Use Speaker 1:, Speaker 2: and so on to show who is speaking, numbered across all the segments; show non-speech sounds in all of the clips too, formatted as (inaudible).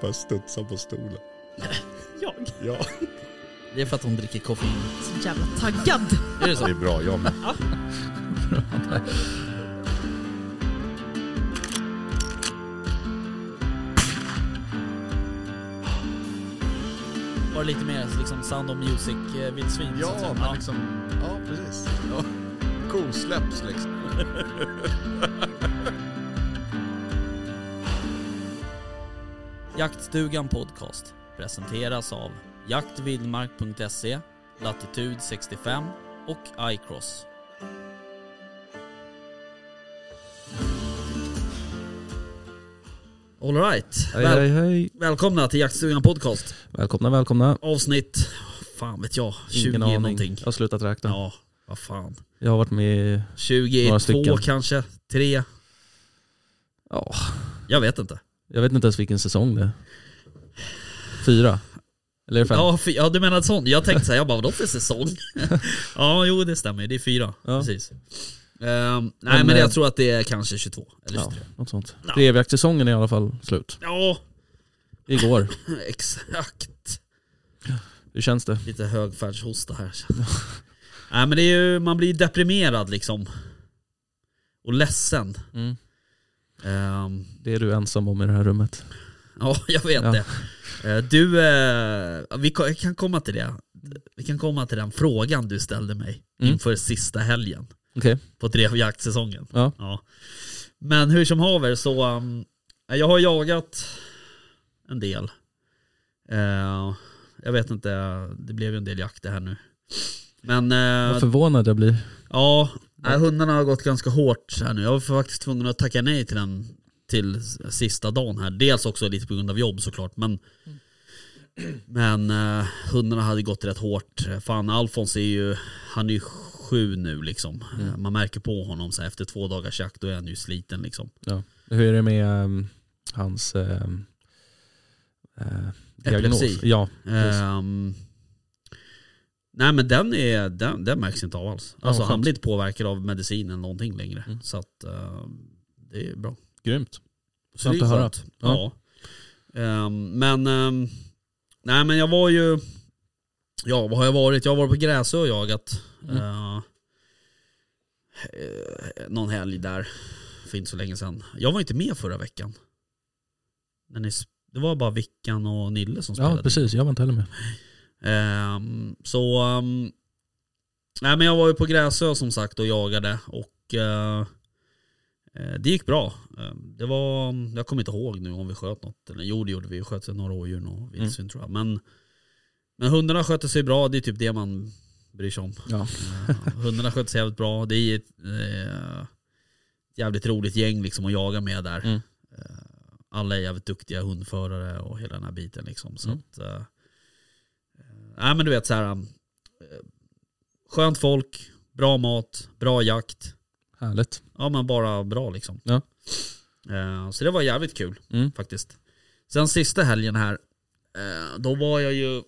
Speaker 1: Bara studsar på stolen.
Speaker 2: Jag?
Speaker 1: Ja.
Speaker 3: Det är för att hon dricker koffein.
Speaker 2: Så jävla taggad.
Speaker 3: Är det så?
Speaker 1: Det är bra, jag med.
Speaker 3: Var det lite mer liksom Sound of Music-vildsvin? så att säga?
Speaker 1: Ja, men liksom... Ja, precis. Ja. Kosläpps liksom.
Speaker 3: (laughs) Jaktstugan Podcast presenteras av jaktvildmark.se, Latitud 65 och iCross. Alright,
Speaker 4: Hej, hej,
Speaker 3: Väl-
Speaker 4: hej.
Speaker 3: välkomna till Jaktstugan Podcast.
Speaker 4: Välkomna, välkomna.
Speaker 3: Avsnitt, fan vet jag, 20
Speaker 4: Ingen aning.
Speaker 3: någonting.
Speaker 4: Jag har slutat räkna.
Speaker 3: Ja, vad fan.
Speaker 4: Jag har varit med i, Några
Speaker 3: 22
Speaker 4: stycken.
Speaker 3: kanske, 3,
Speaker 4: ja,
Speaker 3: jag vet inte.
Speaker 4: jag vet inte ens vilken säsong det är. Fyra? Eller är det fem?
Speaker 3: Ja, fy- ja du menar sån. Jag tänkte såhär, jag bara vadå för
Speaker 4: (laughs)
Speaker 3: säsong? ja jo det stämmer, det är fyra.
Speaker 4: Ja.
Speaker 3: Precis. Ehm, nej men,
Speaker 4: eh,
Speaker 3: jag tror att det är kanske 22 eller
Speaker 4: Ja,
Speaker 3: 23.
Speaker 4: något sånt.
Speaker 3: Ja.
Speaker 4: Revjaktssäsongen är i alla fall slut.
Speaker 3: Ja. (laughs)
Speaker 4: Igår.
Speaker 3: exakt.
Speaker 4: Hur känns det?
Speaker 3: Lite högfärdshosta här. (laughs) nej men det är ju, man blir ju deprimerad liksom. Och ledsen.
Speaker 4: Mm.
Speaker 3: Ehm,
Speaker 4: Det är du ensam om i det här rummet.
Speaker 3: ja (laughs) jag vet
Speaker 4: Ja.
Speaker 3: det. Eh, du, eh, vi ko- kan komma till det. Vi kan komma till den frågan du ställde mig
Speaker 4: Mm.
Speaker 3: inför sista helgen.
Speaker 4: Okej.
Speaker 3: på drevjaktsäsongen.
Speaker 4: Ja.
Speaker 3: Men hur som haver så, um, jag har jagat en del. Eh, jag vet inte, det blev ju en del jakt det här nu. Men eh,
Speaker 4: Vad förvånad jag blir.
Speaker 3: ja, nej, hundarna har gått ganska hårt här nu. Jag var faktiskt tvungen att tacka nej till den till sista dagen här. Dels också lite på grund av jobb såklart men
Speaker 4: Mm.
Speaker 3: men eh, hundarna hade gått rätt hårt. Fan Alfons är ju, han är ju sju nu liksom.
Speaker 4: Mm.
Speaker 3: Eh, Man märker på honom så här, efter två dagars jakt då är han ju sliten liksom.
Speaker 4: Hur är det med ehm, hans ehm, eh, diagnos?
Speaker 3: Epilepsi.
Speaker 4: Ja, Precis.
Speaker 3: Ehm, nej men den, är, den, den märks inte av alls.
Speaker 4: Ja,
Speaker 3: Alltså han
Speaker 4: skönt.
Speaker 3: blir inte påverkad av medicin eller någonting längre.
Speaker 4: Mm.
Speaker 3: Så att eh, det är bra.
Speaker 4: grymt.
Speaker 3: Så
Speaker 4: Skönt
Speaker 3: det är
Speaker 4: att höra.
Speaker 3: skönt. Ja. Ehm, men, ehm, nej men jag var ju, ja vad har jag varit? Jag har varit på Gräsö och jagat.
Speaker 4: Mm.
Speaker 3: Eh, eh, någon helg där för inte så länge sedan. Jag var inte med förra veckan. När ni, sp- det var bara Vickan och Nille som spelade.
Speaker 4: Ja, precis. Jag var inte heller med.
Speaker 3: Ehm, så, ehm, nej men jag var ju på Gräsö som sagt och jagade och eh, eh, det gick bra. Ehm, det var, jag kommer inte ihåg nu om vi sköt något. Eller, jo det gjorde vi, vi sköt några rådjur och vildsvin tror jag. Men, men hundarna skötte sig bra, det är typ det man bryr sig om.
Speaker 4: Ja.
Speaker 3: Ehm, hundarna skötte sig jävligt bra, det är ett eh, jävligt roligt gäng liksom att jaga med där.
Speaker 4: Mm.
Speaker 3: Ehm, alla är jävligt duktiga hundförare och hela den här biten liksom. Så
Speaker 4: Mm.
Speaker 3: att, eh, Nej men du vet så här. um, eh, Skönt folk, bra mat, bra jakt.
Speaker 4: Härligt.
Speaker 3: Ja men bara bra liksom.
Speaker 4: Ja.
Speaker 3: Eh, Så det var jävligt kul
Speaker 4: Mm.
Speaker 3: faktiskt. Sen sista helgen här, eh, då var jag ju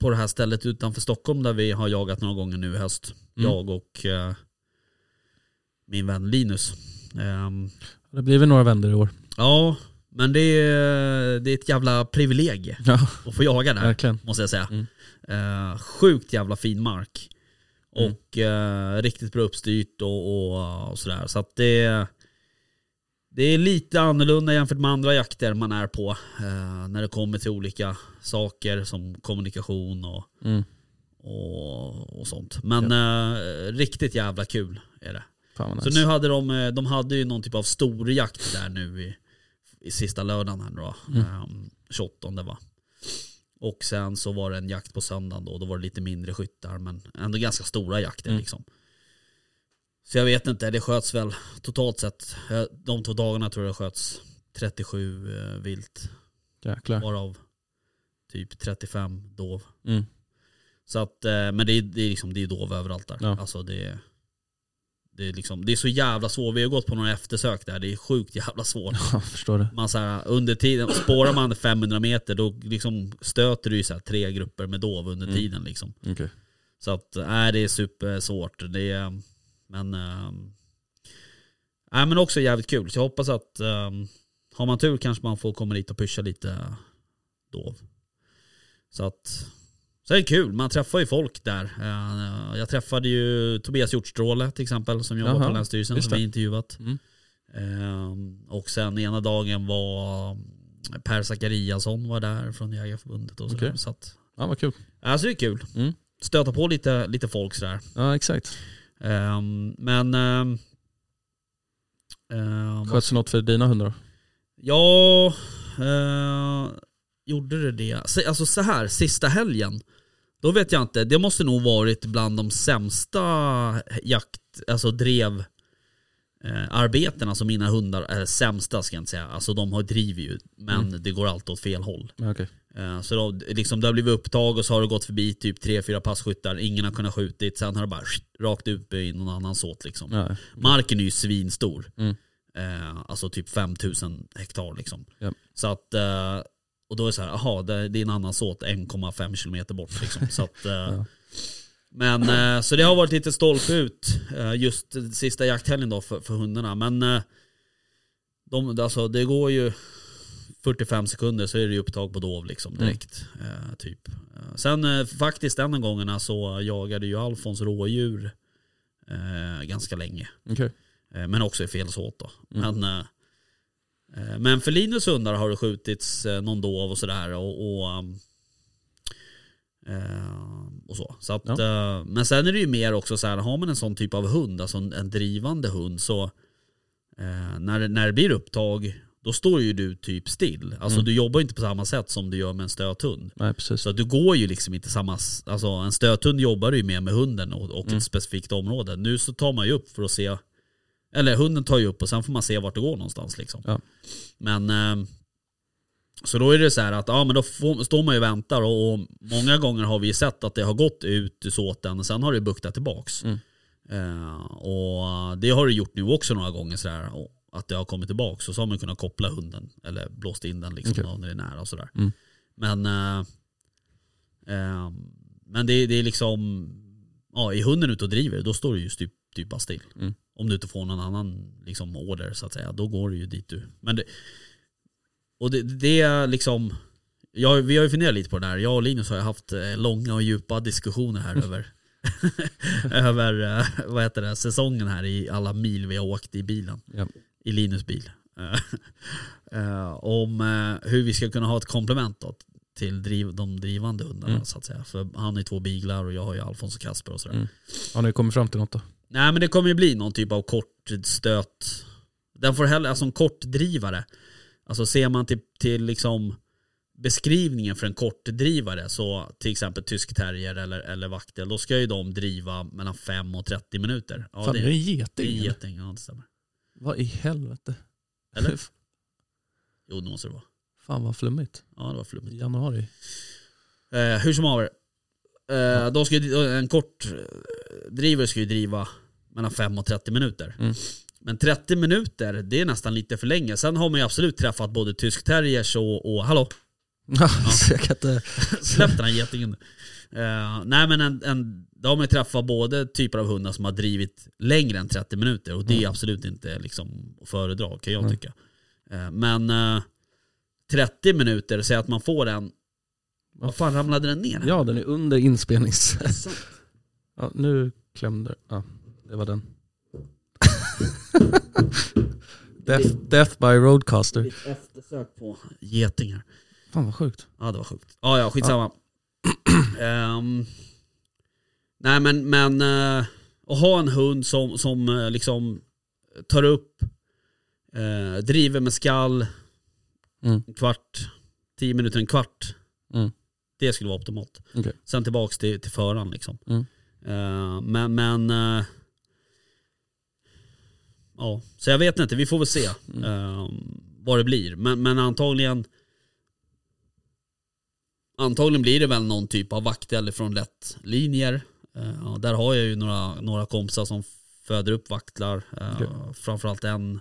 Speaker 3: på det här stället utanför Stockholm där vi har jagat några gånger nu i höst.
Speaker 4: Mm.
Speaker 3: Jag och eh, min vän Linus. Ehm,
Speaker 4: Det blir väl några vändor i år.
Speaker 3: Ja, men det är, det är ett jävla privilegie
Speaker 4: Ja,
Speaker 3: att få jaga där
Speaker 4: verkligen.
Speaker 3: måste jag säga.
Speaker 4: Mm.
Speaker 3: Eh, sjukt jävla fin mark. Och eh, riktigt bra uppstyrt och, och, och sådär. Så att det, det är lite annorlunda jämfört med andra jakter man är på. eh, när det kommer till olika saker som kommunikation och,
Speaker 4: Mm.
Speaker 3: och, och sånt. Men eh, riktigt jävla kul är det.
Speaker 4: Fan vad
Speaker 3: Så
Speaker 4: nice.
Speaker 3: nu hade de, eh, de hade ju någon typ av storjakt där nu i, i sista lördagen här då.
Speaker 4: Mm.
Speaker 3: Um, 28 va. Och sen så var det en jakt på söndagen då. Då var det lite mindre skyttar men ändå ganska stora jakter
Speaker 4: Mm.
Speaker 3: liksom. Så jag vet inte, det sköts väl totalt sett. eh, De två dagarna tror jag det sköts 37 eh, vilt.
Speaker 4: Jäklar.
Speaker 3: Varav typ 35 dov.
Speaker 4: Mm.
Speaker 3: Så att, eh, men det är, det är liksom, det är dov överallt där.
Speaker 4: Ja.
Speaker 3: Alltså det är, det är liksom, det är så jävla svårt. Vi har gått på några eftersök där, det är sjukt jävla svårt.
Speaker 4: Ja, (laughs) förstår det.
Speaker 3: Man så här, under tiden, spårar man 500 meter då liksom stöter du ju så här tre grupper med dov under
Speaker 4: Mm.
Speaker 3: tiden liksom.
Speaker 4: Okej.
Speaker 3: Så att, nej det är supersvårt. Det är, men, ehm, nej men också jävligt kul. Så jag hoppas att ehm, har man tur kanske man får komma dit och pyscha lite då. Så att, så är det kul. Man träffar ju folk där. Eh, Jag träffade ju Tobias Hjortstråle till exempel som jobbar
Speaker 4: Jaha,
Speaker 3: på Länsstyrelsen
Speaker 4: just
Speaker 3: som vi
Speaker 4: det.
Speaker 3: intervjuat.
Speaker 4: Mm.
Speaker 3: Eh, Och sen ena dagen var Per Zachariasson var där från Jägareförbundet och sådär.
Speaker 4: Okej.
Speaker 3: Så att,
Speaker 4: Ja, vad kul.
Speaker 3: alltså det är kul.
Speaker 4: Mm.
Speaker 3: Stöta på lite, lite folk sådär.
Speaker 4: Ja, exakt.
Speaker 3: Ehm, men... ehm, ehm,
Speaker 4: Sköts det något för dina hundar då?
Speaker 3: ja... eh, gjorde det det? Se- Alltså så här, sista helgen. Då vet jag inte. Det måste nog varit bland de sämsta jakt... Alltså drev... Eh, arbetena som mina hundar är sämsta ska jag inte säga. Alltså de har driv ju men det går alltid åt fel håll.
Speaker 4: Ja, okej.
Speaker 3: Eh, Så då, liksom, det har blivit upptag och så har det gått förbi typ tre fyra passkyttar, ingen har kunnat skjutit, sen har det bara skjt, rakt ut i någon annans åt liksom.
Speaker 4: Ja,
Speaker 3: Marken är ju svinstor.
Speaker 4: Mm.
Speaker 3: Eh, alltså typ 5000 hektar liksom.
Speaker 4: Ja.
Speaker 3: Så att, eh, och då är det så här, jaha det, det är en annan såt 1,5 kilometer bort liksom. Så att, eh, Men eh, så det har varit lite stolpe ut eh, just sista jakthelgen då för, för hundarna. Men eh, de, alltså, det går ju 45 sekunder så är det ju upptag på dov liksom direkt. Eh, typ. Eh, sen eh, faktiskt den gångerna så jagade ju Alfons rådjur eh, ganska länge.
Speaker 4: okej.
Speaker 3: Eh, Men också i fel såt då. Men, eh, eh, men för Linus hundar har det skjutits eh, någon dov och sådär. Och, och, um, eh, och så. Så att, eh, men sen är det ju mer också så här, har man en sån typ av hund, alltså en, en drivande hund, så eh, när, det- när det blir upptag, då står ju du typ still. Alltså du jobbar ju inte på samma sätt som du gör med en stöthund.
Speaker 4: Nej, precis.
Speaker 3: Så att du går ju liksom inte samma, s- alltså en stöthund jobbar du ju mer med hunden och,
Speaker 4: Mm.
Speaker 3: och ett specifikt område. Nu så tar man ju upp för att se, eller hunden tar ju upp och sen får man se vart det går någonstans liksom.
Speaker 4: Ja.
Speaker 3: Men eh, så då är det så här att, ja men då får, står man ju och väntar och, och många gånger har vi ju sett att det har gått ut ur såten och sen har det buktat tillbaks.
Speaker 4: Mm.
Speaker 3: Eh, och det har det gjort nu också några gånger sådär. och Att det har kommit tillbaks och så har man kunnat koppla hunden eller blåst in den liksom
Speaker 4: Okej.
Speaker 3: då, när det är nära och sådär.
Speaker 4: Mm.
Speaker 3: Men eh, Ehm, Men det, det är liksom, ja, är hunden ute och driver då står du ju typ, typ bara still.
Speaker 4: Mm.
Speaker 3: Om du inte får någon annan liksom, order så att säga, då går du ju dit du... Men det, och det, det är liksom, jag, vi har ju funderat lite på det här. Jag och Linus har ju haft eh, långa och djupa diskussioner
Speaker 4: (laughs)
Speaker 3: här över, (laughs) över eh, vad heter det, säsongen här i alla mil vi har åkt i bilen.
Speaker 4: Ja.
Speaker 3: I Linus bil. (laughs) Eh, om eh, hur vi ska kunna ha ett komplement då, till driv, de drivande hundarna
Speaker 4: Mm.
Speaker 3: så att säga. För han har ju två biglar och jag har ju Alfons och Kasper och sådär.
Speaker 4: Mm. Har ni kommit fram till något då?
Speaker 3: Nej men det kommer ju bli någon typ av kortstöt. Den får hellre, alltså en kortdrivare. Alltså ser man till, till liksom beskrivningen för en kortdrivare, så till exempel tysk terrier eller, eller vaktel, då ska ju de driva mellan 5 och 30 minuter. Ja,
Speaker 4: Fan, det är en
Speaker 3: det är
Speaker 4: geting. eller?
Speaker 3: geting, ja det stämmer.
Speaker 4: Vad i helvete?
Speaker 3: Eller? Jo det måste det vara.
Speaker 4: (laughs) Fan vad flummigt.
Speaker 3: Ja det var flummigt.
Speaker 4: Januari.
Speaker 3: Eh, hur som haver. Eh, då ska ju, en kortdrivare ska ju driva mellan 5 och 30 minuter.
Speaker 4: Mm.
Speaker 3: Men 30 minuter, det är nästan lite för länge. Sen har man ju absolut träffat både tysk terriers och, och hallå, (laughs)
Speaker 4: (laughs) Ja. jag kan inte...
Speaker 3: släpp den här getingen. Eh, nej men en, en, då har man ju träffat både typer av hundar som har drivit längre än 30 minuter och det
Speaker 4: Mm.
Speaker 3: är absolut inte liksom att föredra kan jag tycka. Eh, men eh, 30 minuter, säg att man får en, vad fan ramlade den ner? här?
Speaker 4: Ja, den är under inspelnings...
Speaker 3: Så-
Speaker 4: Ja, nu klämde... Ja, det var den. (laughs) death, death by roadcaster.
Speaker 3: blivit eftersökt på getingar.
Speaker 4: Fan vad sjukt.
Speaker 3: Ja det var sjukt. Ja ja, skitsamma. Ehm, nej men, men eh, att ha en hund som, som eh, liksom tar upp, eh, driver med skall,
Speaker 4: Mm.
Speaker 3: en kvart, tio minuter, en kvart.
Speaker 4: Mm.
Speaker 3: Det skulle vara optimalt.
Speaker 4: Okej.
Speaker 3: Sen tillbaks till, till föraren liksom.
Speaker 4: Mm.
Speaker 3: Eh, men, men eh, ja, så jag vet inte, vi får väl se
Speaker 4: Mm.
Speaker 3: eh, vad det blir. Men, men antagligen Antagligen blir det väl någon typ av vakt eller från lätt linjer. Eh, och där har jag ju några, några kompisar som föder upp vaktlar. Eh,
Speaker 4: Okej.
Speaker 3: Framförallt en,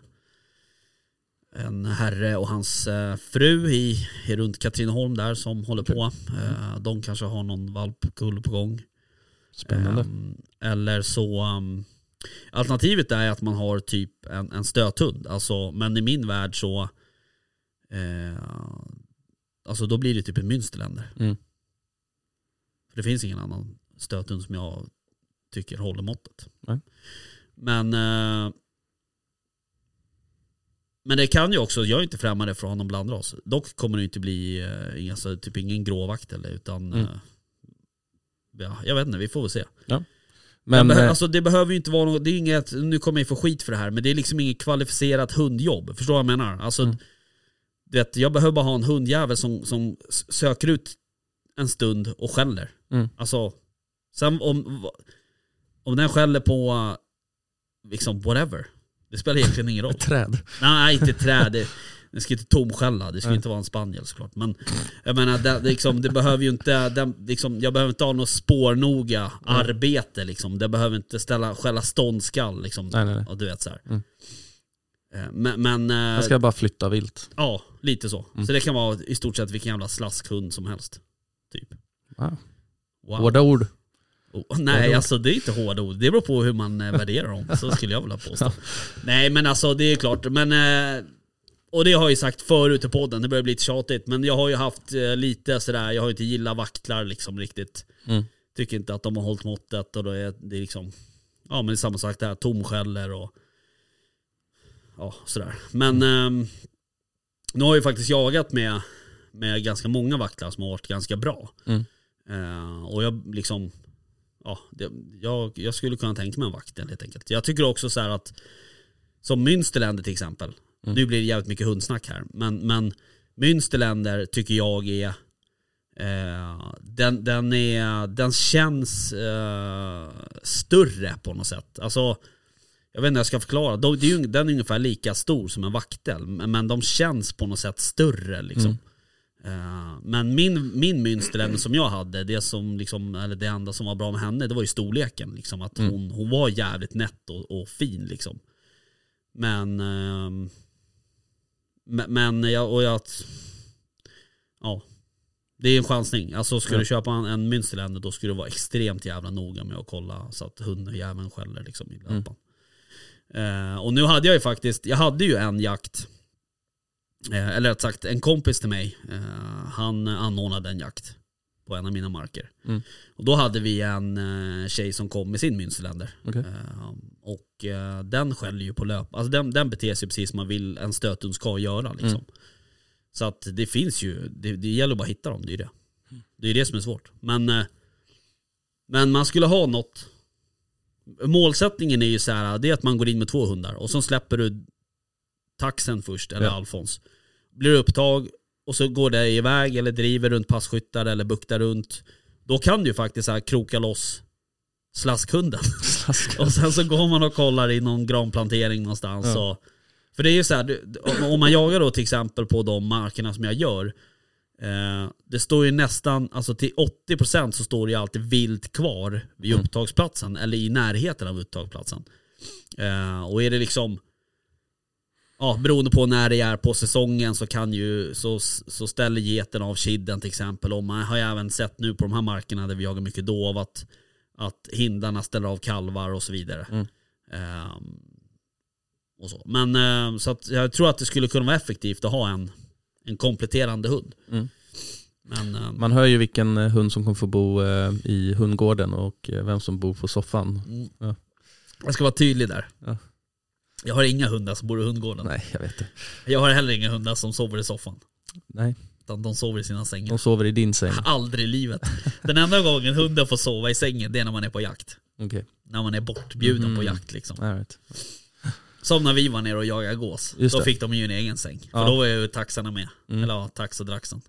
Speaker 3: en herre och hans eh, fru i, i runt Katrineholm där som håller på. Eh, de kanske har någon valpkull på gång.
Speaker 4: Spännande.
Speaker 3: Ehm, eller så ehm, Alternativet är att man har typ en, en stöthund. Alltså, men i min värld så Eh, alltså då blir det typ en Münsterländer.
Speaker 4: Mm.
Speaker 3: För det finns ingen annan stöthund som jag tycker håller måttet.
Speaker 4: Nej.
Speaker 3: Men eh, men det kan ju också, jag är inte främmande för att ha någon blandras. Dock kommer det ju inte bli eh, inga- alltså, typ ingen gråvakt eller utan
Speaker 4: Mm.
Speaker 3: eh, ja, jag vet inte, vi får väl se. Men,
Speaker 4: Men,
Speaker 3: behö-
Speaker 4: eh,
Speaker 3: alltså, det behöver ju inte vara något, det är inget, nu kommer jag få skit för det här, men det är liksom inget kvalificerat hundjobb. Förstår vad jag menar? Alltså,
Speaker 4: Mm.
Speaker 3: du vet, jag behöver bara ha en hundjävel som, som s- söker ut en stund och skäller.
Speaker 4: Mm.
Speaker 3: Alltså, sen om, om den skäller på eh, liksom whatever, det spelar egentligen ingen roll.
Speaker 4: ett träd.
Speaker 3: Nej, inte träd. Det, den ska inte tomskälla. Det ska ju
Speaker 4: Nej.
Speaker 3: inte vara en spaniel såklart. Men jag menar, det, det liksom, det behöver ju inte, det, liksom, jag behöver inte ha något spårnoga arbete liksom. Det behöver inte ställa, skälla ståndskall liksom.
Speaker 4: Nej, nej, nej.
Speaker 3: Och du vet så här.
Speaker 4: Mm.
Speaker 3: Eh, Men, men eh,
Speaker 4: Jag ska bara flytta vilt.
Speaker 3: ja, lite så.
Speaker 4: Mm.
Speaker 3: Så det kan vara i stort sett vilken jävla slaskhund som helst. Typ.
Speaker 4: Wow.
Speaker 3: Wow.
Speaker 4: Hårda ord.
Speaker 3: Oh, nej,
Speaker 4: Hårda ord.
Speaker 3: alltså det är inte hårda ord. Det beror på hur man eh, värderar dem. Så skulle jag vilja påstå. nej, men alltså det är klart. Men, eh, och det har jag ju sagt förut i podden, det börjar bli lite tjatigt. Men jag har ju haft eh, lite sådär, jag har ju inte gillat vaktlar liksom riktigt.
Speaker 4: Mm.
Speaker 3: Tycker inte att de har hållit måttet och då är det är liksom, ja men det är samma sak där, tomskäller och ja sådär. Men
Speaker 4: Mm.
Speaker 3: ehm, nu har jag ju faktiskt jagat med, med ganska många vaktlar som har varit ganska bra.
Speaker 4: Mm.
Speaker 3: Eh, och jag liksom, ja, det, jag, jag skulle kunna tänka mig en vakt helt enkelt. Jag tycker också så här att, som Münsterländer till exempel, nu blir det jävligt mycket hundsnack här, men, men Münsterländer tycker jag är Eh, den, den, är, den känns eh, större på något sätt. Alltså, jag vet inte hur jag ska förklara. De, det är ju, den är ungefär lika stor som en vaktel, men men de känns på något sätt större. Liksom. Eh, men min, min münsterländer som jag hade, det, som liksom, eller det enda som var bra med henne, det var ju storleken. Liksom, att hon, hon var jävligt nätt och, och fin. Liksom. Men, ehm, men- men jag, och jag, ja. Det är en chansning. Alltså skulle du köpa en, en Münsterländer då skulle du vara extremt jävla noga med att kolla så att hundjäveln skäller liksom i lampan. Eh, och nu hade jag ju faktiskt, jag hade ju en jakt, eh, eller rätt sagt en kompis till mig, eh, han anordnade en jakt på en av mina marker.
Speaker 4: Mm.
Speaker 3: Och då hade vi en eh, tjej som kom med sin Münsterländer.
Speaker 4: Okej.
Speaker 3: Eh, och eh, den skäller ju på löp, alltså den, den beter sig precis som man vill en stöthund ska göra liksom.
Speaker 4: Mm.
Speaker 3: Så att det finns ju, det, det gäller bara att hitta dem, det är ju det. Det är det som är svårt. Men, eh, men man skulle ha något. Målsättningen är ju så här, det är att man går in med två hundar och så släpper du taxen först, eller
Speaker 4: Ja.
Speaker 3: Alfons. Blir det upptag och så går det iväg eller driver runt passkyttar eller buktar runt. Då kan du ju faktiskt så här kroka loss slaskhunden. (laughs) Och sen så går man och kollar i någon granplantering någonstans.
Speaker 4: Ja.
Speaker 3: Och, för det är ju så här, du- om- om man jagar då till exempel på de markerna som jag gör. Eh, det står ju nästan, alltså till 80% så står det ju alltid vilt kvar vid upptagsplatsen. Eller i närheten av upptagsplatsen. Eh, och är det liksom, ja beroende på när det är på säsongen så kan ju, så, så ställer geten av kidden till exempel. Och man har ju även sett nu på de här markerna där vi jagar mycket dov att, att hindarna ställer av kalvar och så vidare.
Speaker 4: Mm.
Speaker 3: Ehm, och så. Men eh, så att jag tror att det skulle kunna vara effektivt att ha en, en kompletterande hund.
Speaker 4: Mm.
Speaker 3: Men eh,
Speaker 4: Man hör ju vilken eh, hund som kommer få bo eh, i hundgården och eh, vem som bor på soffan.
Speaker 3: mm. jag ska vara tydlig där.
Speaker 4: Ja.
Speaker 3: Jag har inga hundar som bor i hundgården.
Speaker 4: Nej, jag vet inte.
Speaker 3: Jag har heller inga hundar som sover i soffan.
Speaker 4: Nej,
Speaker 3: Utan de sover i sina sängar. (laughs)
Speaker 4: de sover i din säng.
Speaker 3: Aldrig i livet. Den enda gången hunden får sova i sängen det är när man är på jakt.
Speaker 4: Okej,
Speaker 3: När man är bortbjuden
Speaker 4: Mhm.
Speaker 3: på jakt liksom.
Speaker 4: all right.
Speaker 3: Som när vi var nere och jagade gås.
Speaker 4: Just
Speaker 3: då
Speaker 4: det.
Speaker 3: fick de ju en egen säng. För
Speaker 4: Ja.
Speaker 3: då var ju taxarna med.
Speaker 4: Mm.
Speaker 3: Eller ja, tax och draxen.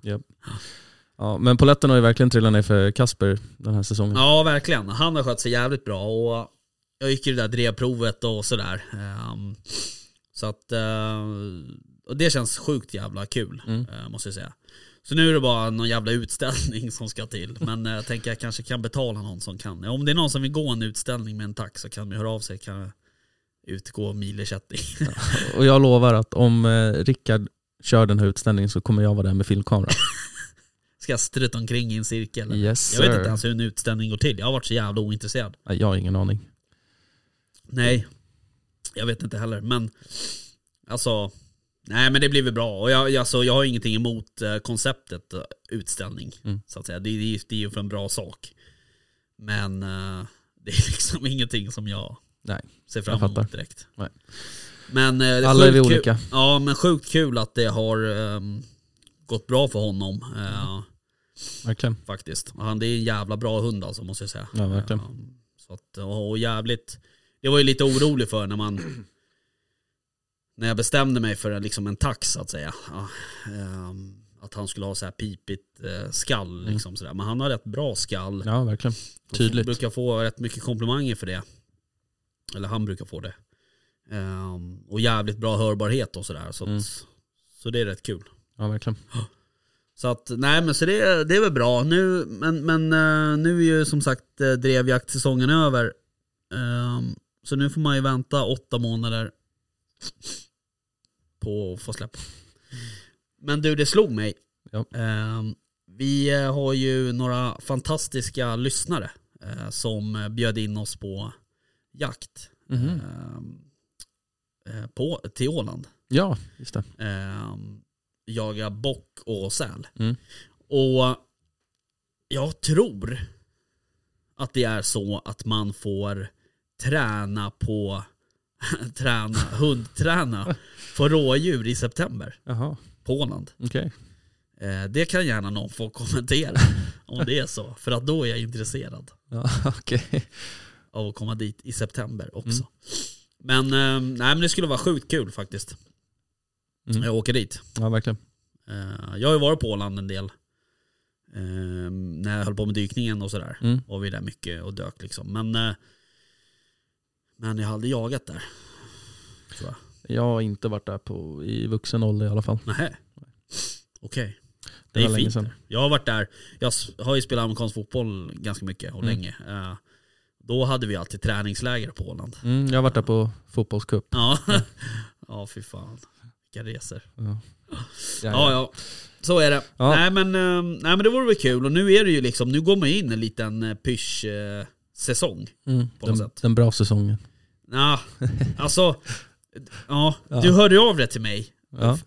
Speaker 4: Ja, men polletten har ju verkligen trillat ner för Kasper den här säsongen.
Speaker 3: Ja, verkligen. Han har skött sig jävligt bra. Och jag gick ju det där drevprovet och sådär. Ehm, så att... eh, och det känns sjukt jävla kul,
Speaker 4: Mm.
Speaker 3: eh, måste jag säga. Så nu är det bara någon jävla utställning (laughs) som ska till. Men eh, jag tänker jag kanske kan betala någon som kan. Om det är någon som vill gå en utställning med en tax så kan vi höra av sig. Kan jag utgå milersättning. (laughs)
Speaker 4: Och jag lovar att om eh, Rickard kör den här utställningen så kommer jag vara där med filmkamera.
Speaker 3: ska jag strutta omkring i en cirkel.
Speaker 4: (laughs) Yes
Speaker 3: Jag vet
Speaker 4: sir.
Speaker 3: inte ens hur en utställning går till. Jag har varit så jävla ointresserad.
Speaker 4: Nej, jag har ingen aning.
Speaker 3: Nej, jag vet inte heller. Men alltså, Nej men det blir väl bra. Och jag, jag- alltså, jag har ingenting emot eh, konceptet eh, utställning.
Speaker 4: Mm.
Speaker 3: Så att säga. Det, det, är ju- det är ju för en bra sak. Men eh, (laughs) det är liksom ingenting som jag
Speaker 4: Nej.
Speaker 3: ser fram
Speaker 4: Jag fattar.
Speaker 3: emot direkt.
Speaker 4: Nej.
Speaker 3: Men, eh, det är
Speaker 4: Alla är vi
Speaker 3: sjukt kul-
Speaker 4: olika.
Speaker 3: Ja men sjukt kul att det har ehm, gått bra för honom. eh,
Speaker 4: Verkligen.
Speaker 3: faktiskt. Och Han, det är en jävla bra hund alltså måste jag säga.
Speaker 4: Ja, verkligen.
Speaker 3: Ehm, Så att, och, och jävligt, det var ju lite orolig för när man när jag bestämde mig för liksom en tax så att säga. Ja, ehm, att han skulle ha så här pipigt eh, skall liksom sådär. Men han har rätt bra skall.
Speaker 4: Mm. Ja, verkligen.
Speaker 3: Jag
Speaker 4: Tydligt.
Speaker 3: brukar få rätt mycket komplimanger för det. Eller han brukar få det. Ehm, och jävligt bra hörbarhet och sådär. Så, att-
Speaker 4: Mm.
Speaker 3: så det är rätt kul.
Speaker 4: Ja, verkligen.
Speaker 3: Så att, nej men så det, det är väl bra. Nu, men men eh, nu är ju som sagt eh, drevjaktsäsongen över. Ehm, så nu får man ju vänta åtta månader på att få släppa. Men du, det slog mig.
Speaker 4: Ja.
Speaker 3: Ehm, vi eh, har ju några fantastiska lyssnare eh, som eh, bjöd in oss på jakt
Speaker 4: Mm. Mhm.
Speaker 3: ehm, eh, på, till Åland
Speaker 4: Ja, just det.
Speaker 3: eh, jaga bock och säl.
Speaker 4: Mm.
Speaker 3: Och jag tror att det är så att man får träna på (laughs) träna, hundträna för rådjur i september
Speaker 4: Jaha,
Speaker 3: på Åland.
Speaker 4: okej.
Speaker 3: Eh, det kan gärna någon få
Speaker 4: (laughs)
Speaker 3: kommentera om det är så, för att då är jag intresserad
Speaker 4: Ja, (laughs) okej.
Speaker 3: av att komma dit i september
Speaker 4: Mm.
Speaker 3: också. Men, eh, nej, men det skulle vara sjukt kul faktiskt.
Speaker 4: Mm.
Speaker 3: Jag åker dit.
Speaker 4: Ja, verkligen.
Speaker 3: Eh, jag har ju varit på Åland en del. Eh, när jag höll på med dykningen och sådär.
Speaker 4: Mm.
Speaker 3: Var vi där mycket och dök liksom. Men, eh, men jag har aldrig jagat där. Tror jag.
Speaker 4: Jag har inte varit där på, i vuxen ålder i alla fall.
Speaker 3: Nähä. Okej.
Speaker 4: Det,
Speaker 3: Det är
Speaker 4: var länge
Speaker 3: fint.
Speaker 4: sedan.
Speaker 3: Jag har varit där. Jag s- har ju spelat amerikansk fotboll ganska mycket och
Speaker 4: Mm.
Speaker 3: länge. Eh, då hade vi alltid träningsläger på Åland.
Speaker 4: Mm, jag har varit där på fotbollscup.
Speaker 3: Ja, (laughs) ja fy fan. Vilka resor.
Speaker 4: Ja.
Speaker 3: Ja, ja. Så är det.
Speaker 4: Ja.
Speaker 3: Nej, men, eh, nej men det vore väl kul. Och nu är det ju liksom, nu går man ju in i en liten eh, pysch-säsong.
Speaker 4: Mm,
Speaker 3: På något
Speaker 4: den,
Speaker 3: sätt.
Speaker 4: den bra säsongen.
Speaker 3: Ja, alltså. Ja,
Speaker 4: Ja.
Speaker 3: du hörde ju av det till mig.
Speaker 4: Ja,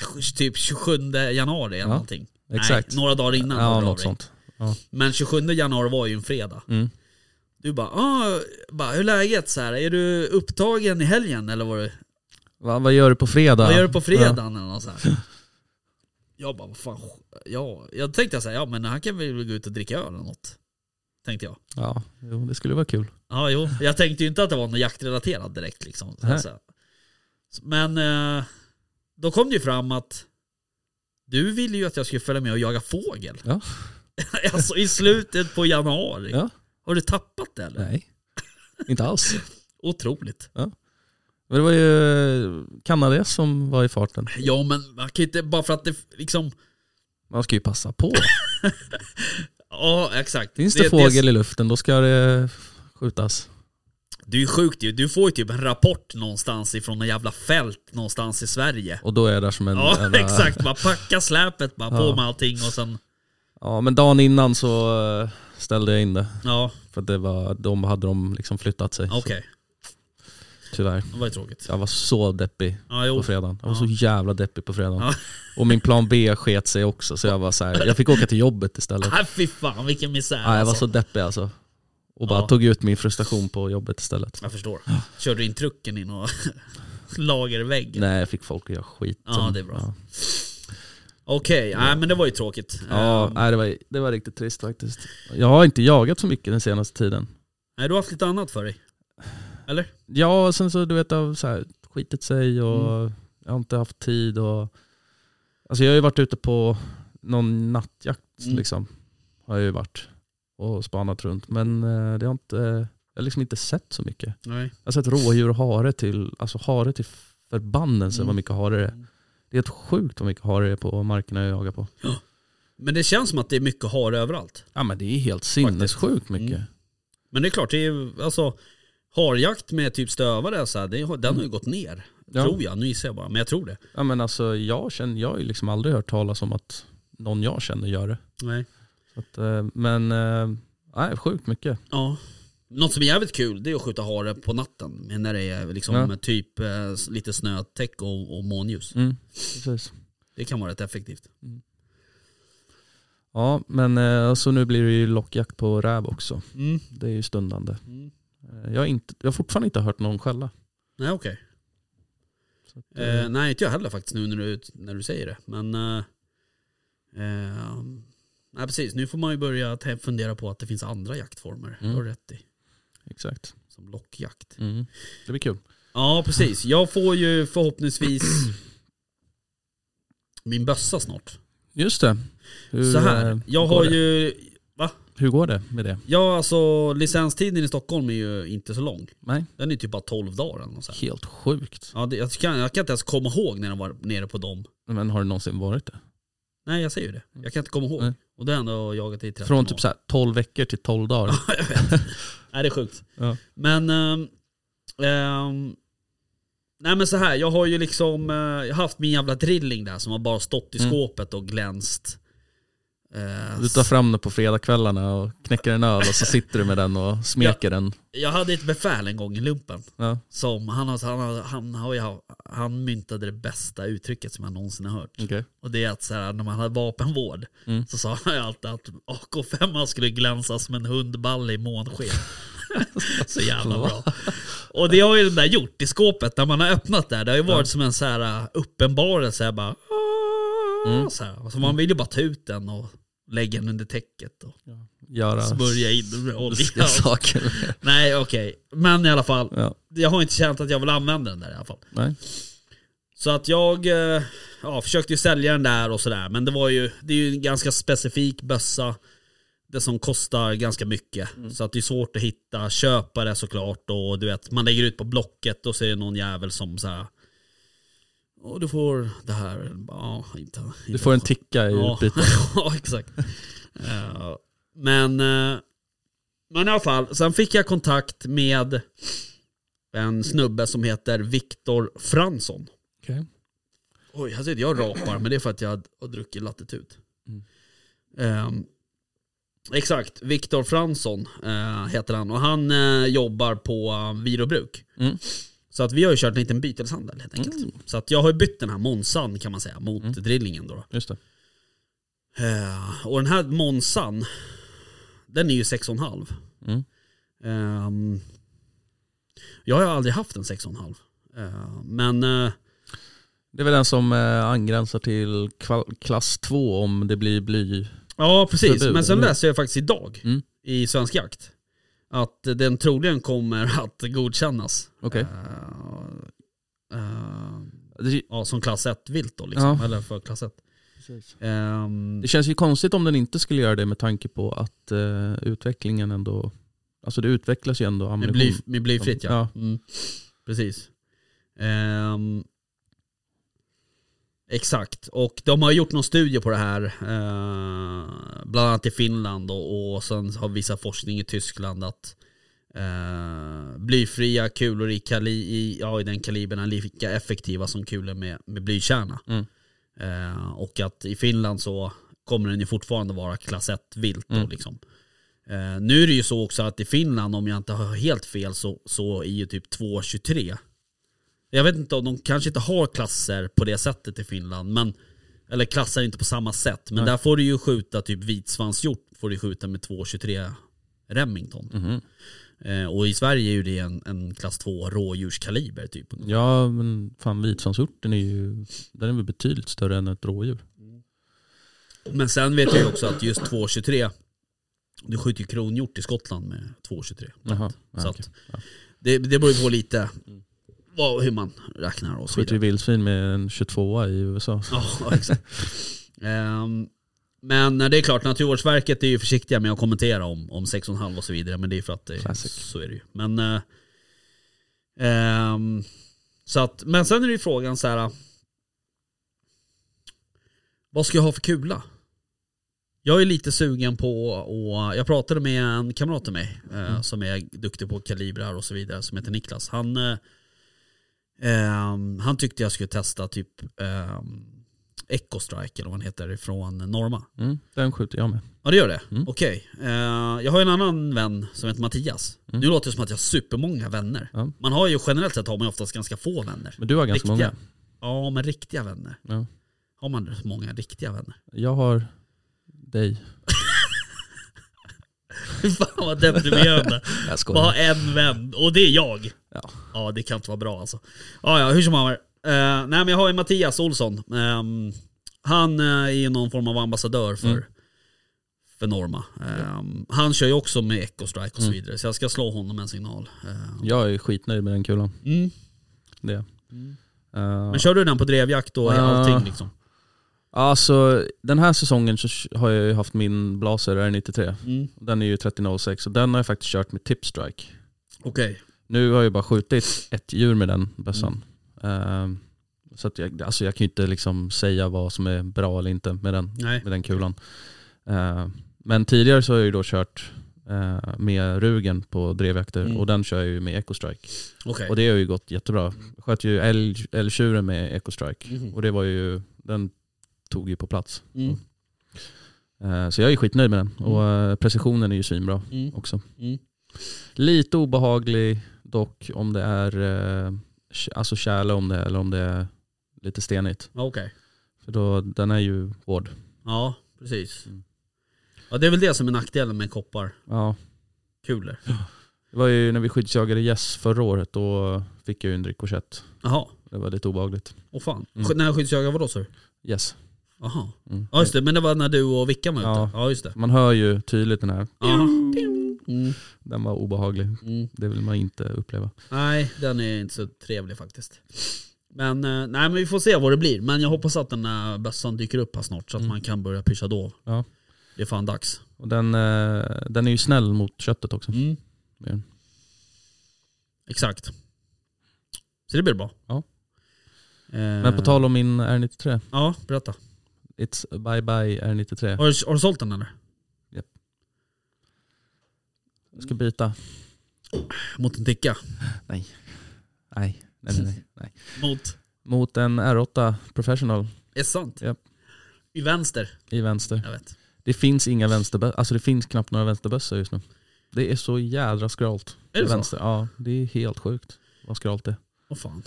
Speaker 3: F- Typ 27 januari eller
Speaker 4: Ja,
Speaker 3: någonting.
Speaker 4: exakt.
Speaker 3: Nej, några dagar innan. hörde
Speaker 4: ja
Speaker 3: du av
Speaker 4: något
Speaker 3: dig.
Speaker 4: sånt.
Speaker 3: Men 27 januari var ju en fredag.
Speaker 4: Mm.
Speaker 3: Du bara, ah, bara, hur är läget? Så här, är du upptagen i helgen eller vad, du,
Speaker 4: Va, vad gör du på fredag?
Speaker 3: vad gör du på fredagen? Eller något så här. Jag bara, vad fan, ja. Jag tänkte så här, ja men han kan väl gå ut och dricka öl eller något. Tänkte jag.
Speaker 4: Ja, ja jo, det skulle vara kul.
Speaker 3: Ja, jo. Jag tänkte ju inte att det var något jaktrelaterat direkt liksom.
Speaker 4: Nej.
Speaker 3: Alltså. Men eh, då kom det ju fram att du ville ju att jag skulle följa med och jaga fågel.
Speaker 4: Ja.
Speaker 3: (laughs) alltså i slutet på januari.
Speaker 4: Ja.
Speaker 3: Har du tappat det eller?
Speaker 4: Nej, (laughs) inte alls.
Speaker 3: Otroligt.
Speaker 4: Men det var ju eh, Kanada som var i farten.
Speaker 3: Ja men man kan ju inte, bara för att det liksom,
Speaker 4: Man ska ju
Speaker 3: (laughs)
Speaker 4: passa på.
Speaker 3: ja exakt.
Speaker 4: Finns det, fågel i luften då ska det skjutas.
Speaker 3: Det är ju sjukt ju, du får ju typ en rapport någonstans ifrån en jävla fält någonstans i Sverige.
Speaker 4: Och då är jag där som en...
Speaker 3: Ja
Speaker 4: en, äh,
Speaker 3: (laughs) exakt, bara packa släpet bara på
Speaker 4: Ja.
Speaker 3: med allting och sen,
Speaker 4: Ja, men dagen innan så eh, ställde jag in det.
Speaker 3: ja
Speaker 4: För att det var, de hade de liksom flyttat sig. så
Speaker 3: okej.
Speaker 4: Tyvärr.
Speaker 3: Det var ju tråkigt.
Speaker 4: Jag var så deppig
Speaker 3: Ja, jo.
Speaker 4: på fredagen. Jag var
Speaker 3: Oh. Ja.
Speaker 4: så jävla deppig på fredagen.
Speaker 3: Ja.
Speaker 4: Och min plan B sket sig också så jag var så här, jag fick åka till jobbet istället.
Speaker 3: Ah, fy fan vilken misär
Speaker 4: Ja, jag var
Speaker 3: alltså.
Speaker 4: så deppig alltså. Och bara
Speaker 3: Ja.
Speaker 4: tog ut min frustration på jobbet istället.
Speaker 3: Jag förstår. Körde du in trucken i (laughs) någon lagervägg?
Speaker 4: Nej, jag fick folk att göra skit.
Speaker 3: Ja, det är bra. Okej, nej men det var ju tråkigt.
Speaker 4: Ja,
Speaker 3: Ehm,
Speaker 4: nej, det, var, det var riktigt trist faktiskt. Jag har inte jagat så mycket den senaste tiden.
Speaker 3: nej, du har haft lite annat för dig. Eller?
Speaker 4: Ja, och sen så du vet, det har så här, skitit sig och jag har inte haft tid. Och, alltså jag har ju varit ute på någon nattjakt
Speaker 3: Mm.
Speaker 4: liksom. Har jag ju varit och spanat runt. Men eh, det har inte, jag har liksom inte sett så mycket.
Speaker 3: Nej.
Speaker 4: Jag har sett rådjur och hare till, alltså hare till förbannelse
Speaker 3: Mm.
Speaker 4: vad mycket hare det är.
Speaker 3: Mm.
Speaker 4: Det är helt sjukt vad mycket hare det är på markerna jag jagar på.
Speaker 3: Men det känns som att det är mycket hare överallt.
Speaker 4: Ja men det är helt sinnessjukt mycket.
Speaker 3: Mm. Men det är klart, det är ju alltså harjakt med typ stövare så här, det, har- den har ju gått ner.
Speaker 4: Ja.
Speaker 3: Tror jag, nu gissar jag bara, men jag tror det.
Speaker 4: Ja men alltså jag känner, jag har ju liksom aldrig hört talas om att någon jag känner gör det.
Speaker 3: Nej.
Speaker 4: Så att, eh, men eh, nej, sjukt mycket.
Speaker 3: Ja. Något som är jävligt kul det är att skjuta hare på natten. Men när det är liksom
Speaker 4: Ja.
Speaker 3: typ eh, lite snötäck och, och månljus.
Speaker 4: Mm, precis.
Speaker 3: Det kan vara rätt effektivt.
Speaker 4: Ja, men eh, så nu blir det ju lockjakt på räv också.
Speaker 3: Mm.
Speaker 4: Det är ju stundande.
Speaker 3: Mm.
Speaker 4: Eh, Jag har, inte, jag har fortfarande inte hört någon skälla.
Speaker 3: Nej okej.
Speaker 4: Så att,
Speaker 3: Eh, nej inte jag heller faktiskt nu när du, när du säger det. Men... Eh, eh, nej precis, nu får man ju börja te- fundera på att det finns andra jaktformer.
Speaker 4: Mm.
Speaker 3: Du har rätt i.
Speaker 4: Exakt.
Speaker 3: Som lockjakt.
Speaker 4: Mm. Det blir kul.
Speaker 3: Ja precis, jag får ju förhoppningsvis min bössa snart.
Speaker 4: Just det. Hur,
Speaker 3: Så
Speaker 4: eh,
Speaker 3: här, jag
Speaker 4: går
Speaker 3: har
Speaker 4: det?
Speaker 3: ju...
Speaker 4: Hur går det med det?
Speaker 3: Ja alltså licenstiden i Stockholm är ju inte så lång.
Speaker 4: Nej.
Speaker 3: Den är typ bara 12 dagar eller något sånt.
Speaker 4: Helt sjukt.
Speaker 3: Ja, det, jag, kan, jag kan inte ens komma ihåg när jag var nere på dem.
Speaker 4: Men har det någonsin varit det?
Speaker 3: Nej jag säger ju det. Jag kan inte komma ihåg.
Speaker 4: Nej.
Speaker 3: Och det har jag Alltså. ändå jagat i 13
Speaker 4: Från
Speaker 3: år.
Speaker 4: typ så här 12 veckor till
Speaker 3: (laughs)
Speaker 4: 12 dagar.
Speaker 3: jag vet. Nej det är sjukt.
Speaker 4: Ja.
Speaker 3: Men... ehm, ehm, nej men så här, jag har ju liksom eh, jag har haft min jävla drilling där som har bara stått i
Speaker 4: Mm.
Speaker 3: skåpet och glänst. Eh,
Speaker 4: Du tar fram den på fredagskvällarna och knäcker en öl och så sitter du med den och smeker den.
Speaker 3: Jag hade ett befäl en gång i lumpen.
Speaker 4: Ja.
Speaker 3: Som han, har- han, har- han, har ju- han myntade det bästa uttrycket som jag någonsin har hört.
Speaker 4: Okay.
Speaker 3: Och det är att så här, när man hade vapenvård
Speaker 4: Mm.
Speaker 3: så sa han ju alltid att AK5 skulle glänsa som en hundballe i månsken. (laughs) så jävla bra. Och det har ju den där gjort i skåpet när man har öppnat där. Det har ju varit som en så här uh, uppenbarelse. Jag bara, "Ah",
Speaker 4: Mm.
Speaker 3: så här. Så man vill ju bara ta ut den och lägga den under täcket och
Speaker 4: Göra
Speaker 3: smörja in den med olja. (laughs)
Speaker 4: lustiga saker.
Speaker 3: Nej okej, men i alla fall.
Speaker 4: Ja.
Speaker 3: Jag har inte känt att jag vill använda den där i alla fall.
Speaker 4: Nej.
Speaker 3: Så att jag eh, ja, försökte ju sälja den där och sådär. Men det var ju, det är ju en ganska specifik bössa. Det som kostar ganska mycket.
Speaker 4: Mm.
Speaker 3: Så att det är svårt att hitta köpare såklart. Och du vet, man lägger ut på Blocket och så är det någon jävel som såhär. Och du får det här. Ja, inte, inte
Speaker 4: Du får en ticka i
Speaker 3: Ja.
Speaker 4: (laughs) utbyte.
Speaker 3: (laughs) ja, exakt. Eh, men, eh, men i alla fall, sen fick jag kontakt med en snubbe som heter Viktor Fransson.
Speaker 4: Okej.
Speaker 3: Oj, här sitter jag och rapar, men det är för att jag har- har druckit latitud.
Speaker 4: Mm.
Speaker 3: Ehm, exakt, Viktor Fransson eh, heter han och han eh, jobbar på uh, Virobruk.
Speaker 4: Mm.
Speaker 3: Så att vi har ju kört en liten byteshandel helt enkelt. Så att jag har ju bytt den här Monsan kan man säga mot
Speaker 4: Mm.
Speaker 3: drillingen då. då.
Speaker 4: Just det.
Speaker 3: Eh, och den här Monsan, den är ju 6,5.
Speaker 4: Mm.
Speaker 3: Ehm, jag har ju aldrig haft en 6,5. Eh, men eh,
Speaker 4: Det är väl den som eh, angränsar till kval- klass 2 om det blir bly.
Speaker 3: ja precis,
Speaker 4: Förbud,
Speaker 3: men sen
Speaker 4: eller?
Speaker 3: läser jag faktiskt idag
Speaker 4: Mm.
Speaker 3: i Svensk Jakt att den troligen kommer att godkännas.
Speaker 4: Okej.
Speaker 3: Eh, eh, ja, som klass 1-vilt då liksom,
Speaker 4: Ja.
Speaker 3: eller för klass 1.
Speaker 4: Precis.
Speaker 3: Ehm,
Speaker 4: Det känns ju konstigt om den inte skulle göra det med tanke på att eh, utvecklingen ändå, alltså det utvecklas ju ändå
Speaker 3: Med,
Speaker 4: ammunition.
Speaker 3: bly, med blyfritt ja.
Speaker 4: Ja.
Speaker 3: Mm. Precis. Ehm, exakt, och de har gjort någon studie på det här. eh, bland annat i Finland och, och sen har vissa forskning i Tyskland att eh, blyfria kulor i, kali, i, ja, i den kalibern är lika effektiva som kulor med, med blykärna.
Speaker 4: Mm.
Speaker 3: Eh, och att i Finland så kommer den ju fortfarande vara klass 1 vilt. Då,
Speaker 4: Mm.
Speaker 3: liksom. Eh, nu är det ju så också att i Finland, om jag inte har helt fel, så, så är ju typ 2,23. Jag vet inte om de kanske inte har klasser på det sättet i Finland, men eller klassar inte på samma sätt. Men
Speaker 4: Nej.
Speaker 3: där får du ju skjuta typ vitsvanshjort får du skjuta med 2,23 Remington.
Speaker 4: Mhm.
Speaker 3: Eh, och i Sverige är ju det en, en klass 2 rådjurskaliber typ.
Speaker 4: Ja men fan vitsvansorten är ju, den är väl betydligt större än ett rådjur.
Speaker 3: Men sen vet jag ju också att just 2,23, du skjuter ju kronhjort i Skottland med 2,23.
Speaker 4: Jaha. Ja,
Speaker 3: Så
Speaker 4: okej.
Speaker 3: att det, det beror ju på lite vad, hur man räknar och så
Speaker 4: Skjuter i
Speaker 3: vidare.
Speaker 4: vildsvin med en 22a i USA.
Speaker 3: Ja, (laughs) exakt. Ehm, men det är klart, Naturvårdsverket är ju försiktiga med att kommentera om, om 6,5 och så vidare. Men det är för att det,
Speaker 4: Classic.
Speaker 3: så är det ju. Men, eh, ehm, så att, men sen är det ju frågan så här. Vad ska jag ha för kula? Jag är lite sugen på, och jag pratade med en kamrat till mig eh, som är duktig på kalibrar och så vidare som heter Niklas. Han, eh, ehm, han tyckte jag skulle testa typ eh, Echo Strike eller vad den heter från Norma.
Speaker 4: Mm, den skjuter jag med.
Speaker 3: Ja det gör det?
Speaker 4: Mm.
Speaker 3: Okej. Eh, jag har ju en annan vän som heter Mattias.
Speaker 4: Mm.
Speaker 3: Nu låter det som att jag har supermånga vänner.
Speaker 4: Ja.
Speaker 3: Man har ju generellt sett har man ju oftast ganska få vänner.
Speaker 4: Men du har ganska
Speaker 3: Riktiga.
Speaker 4: många.
Speaker 3: Ja men riktiga vänner.
Speaker 4: Ja.
Speaker 3: Har man många riktiga vänner? (laughs)
Speaker 4: Jag har dig.
Speaker 3: Fy Fan vad deprimerande.
Speaker 4: Jag
Speaker 3: Bara ha en vän. Och det är jag.
Speaker 4: Ja.
Speaker 3: Ja det kan inte vara bra alltså. Ja ja, hur som haver. Eh, nej men jag har ju Mattias Olsson. Ehm, han eh, är ju någon form av ambassadör för,
Speaker 4: Mm.
Speaker 3: för Norma. Ehm, Han kör ju också med Echo Strike och så
Speaker 4: Mm.
Speaker 3: vidare. Så jag ska slå honom en signal. Ehm,
Speaker 4: Jag är skitnöjd med den kulan.
Speaker 3: mm.
Speaker 4: Det.
Speaker 3: Mm.
Speaker 4: Eh,
Speaker 3: Men kör du den på drevjakt och
Speaker 4: Ja.
Speaker 3: allting liksom?
Speaker 4: Alltså den här säsongen så har jag ju haft min blaser R93.
Speaker 3: Mm.
Speaker 4: Den är ju 3006 och den har jag faktiskt kört med tipstrike.
Speaker 3: Okej.
Speaker 4: Nu har jag bara skjutit ett djur med den bössan.
Speaker 3: Mm.
Speaker 4: Ehm, så att jag, alltså jag kan ju inte liksom säga vad som är bra eller inte med den,
Speaker 3: Nej.
Speaker 4: med den kulan. Ehm, men tidigare så har jag ju då kört eh, med Rugen på drevjakter
Speaker 3: Mm.
Speaker 4: och den kör jag ju med Ecostrike.
Speaker 3: Okej.
Speaker 4: Och det har ju gått jättebra. Jag sköt ju älg- älgtjuren med Ecostrike
Speaker 3: Mhm.
Speaker 4: och det var ju, den tog ju på plats.
Speaker 3: Mm.
Speaker 4: Eh, Så jag är skitnöjd med den och eh, precisionen är ju svinbra
Speaker 3: Mm.
Speaker 4: också.
Speaker 3: Mm.
Speaker 4: Lite obehaglig dock om det är eh, k- alltså tjäle om det eller om det är lite stenigt.
Speaker 3: Ja, Okej.
Speaker 4: För då, den är ju hård.
Speaker 3: Ja, precis.
Speaker 4: Mm.
Speaker 3: Ja, det är väl det som är nackdelen med koppar.
Speaker 4: Ja.
Speaker 3: Kulor.
Speaker 4: Det var ju när vi skyddsjagade gäss förra året, då fick jag ju en rikoschett.
Speaker 3: Jaha.
Speaker 4: Det var lite obehagligt.
Speaker 3: Åh fan.
Speaker 4: Mm.
Speaker 3: Sk- När skyddsjagaren var då sa du?
Speaker 4: Yes.
Speaker 3: Jaha.
Speaker 4: Mm.
Speaker 3: Ja just det, men det var när du och Vickan var ute? Ja,
Speaker 4: Ja.
Speaker 3: just det.
Speaker 4: Man hör ju tydligt den här.
Speaker 3: Jaha. Mm,
Speaker 4: Den var obehaglig.
Speaker 3: mm.
Speaker 4: Det vill man inte uppleva.
Speaker 3: Nej, den är inte så trevlig faktiskt. Men, eh, nej, men vi får se vad det blir. Men jag hoppas att den här bössan dyker upp här snart så att
Speaker 4: Mm.
Speaker 3: man kan börja pyscha då.
Speaker 4: Ja.
Speaker 3: Det är fan dags.
Speaker 4: Och den, eh, den är ju snäll mot köttet också.
Speaker 3: Mm.
Speaker 4: Ja.
Speaker 3: Exakt. Så det blir bra.
Speaker 4: Ja.
Speaker 3: Eh,
Speaker 4: Men på tal om min R93.
Speaker 3: Ja, berätta.
Speaker 4: It's bye bye R93.
Speaker 3: Har du, har du sålt den eller?
Speaker 4: Jag ska byta.
Speaker 3: Mot en ticka?
Speaker 4: Nej, nej, nej. nej, nej.
Speaker 3: Mot?
Speaker 4: Mot en R8 Professional
Speaker 3: Är det sant?
Speaker 4: Japp.
Speaker 3: I vänster?
Speaker 4: i vänster.
Speaker 3: Jag vet.
Speaker 4: Det finns inga vänsterbössor, alltså det finns knappt några vänsterbössor just nu. Det är så jädra skralt.
Speaker 3: Är det så?
Speaker 4: vänster. Ja, det är helt sjukt vad skralt det är.
Speaker 3: Åh fan.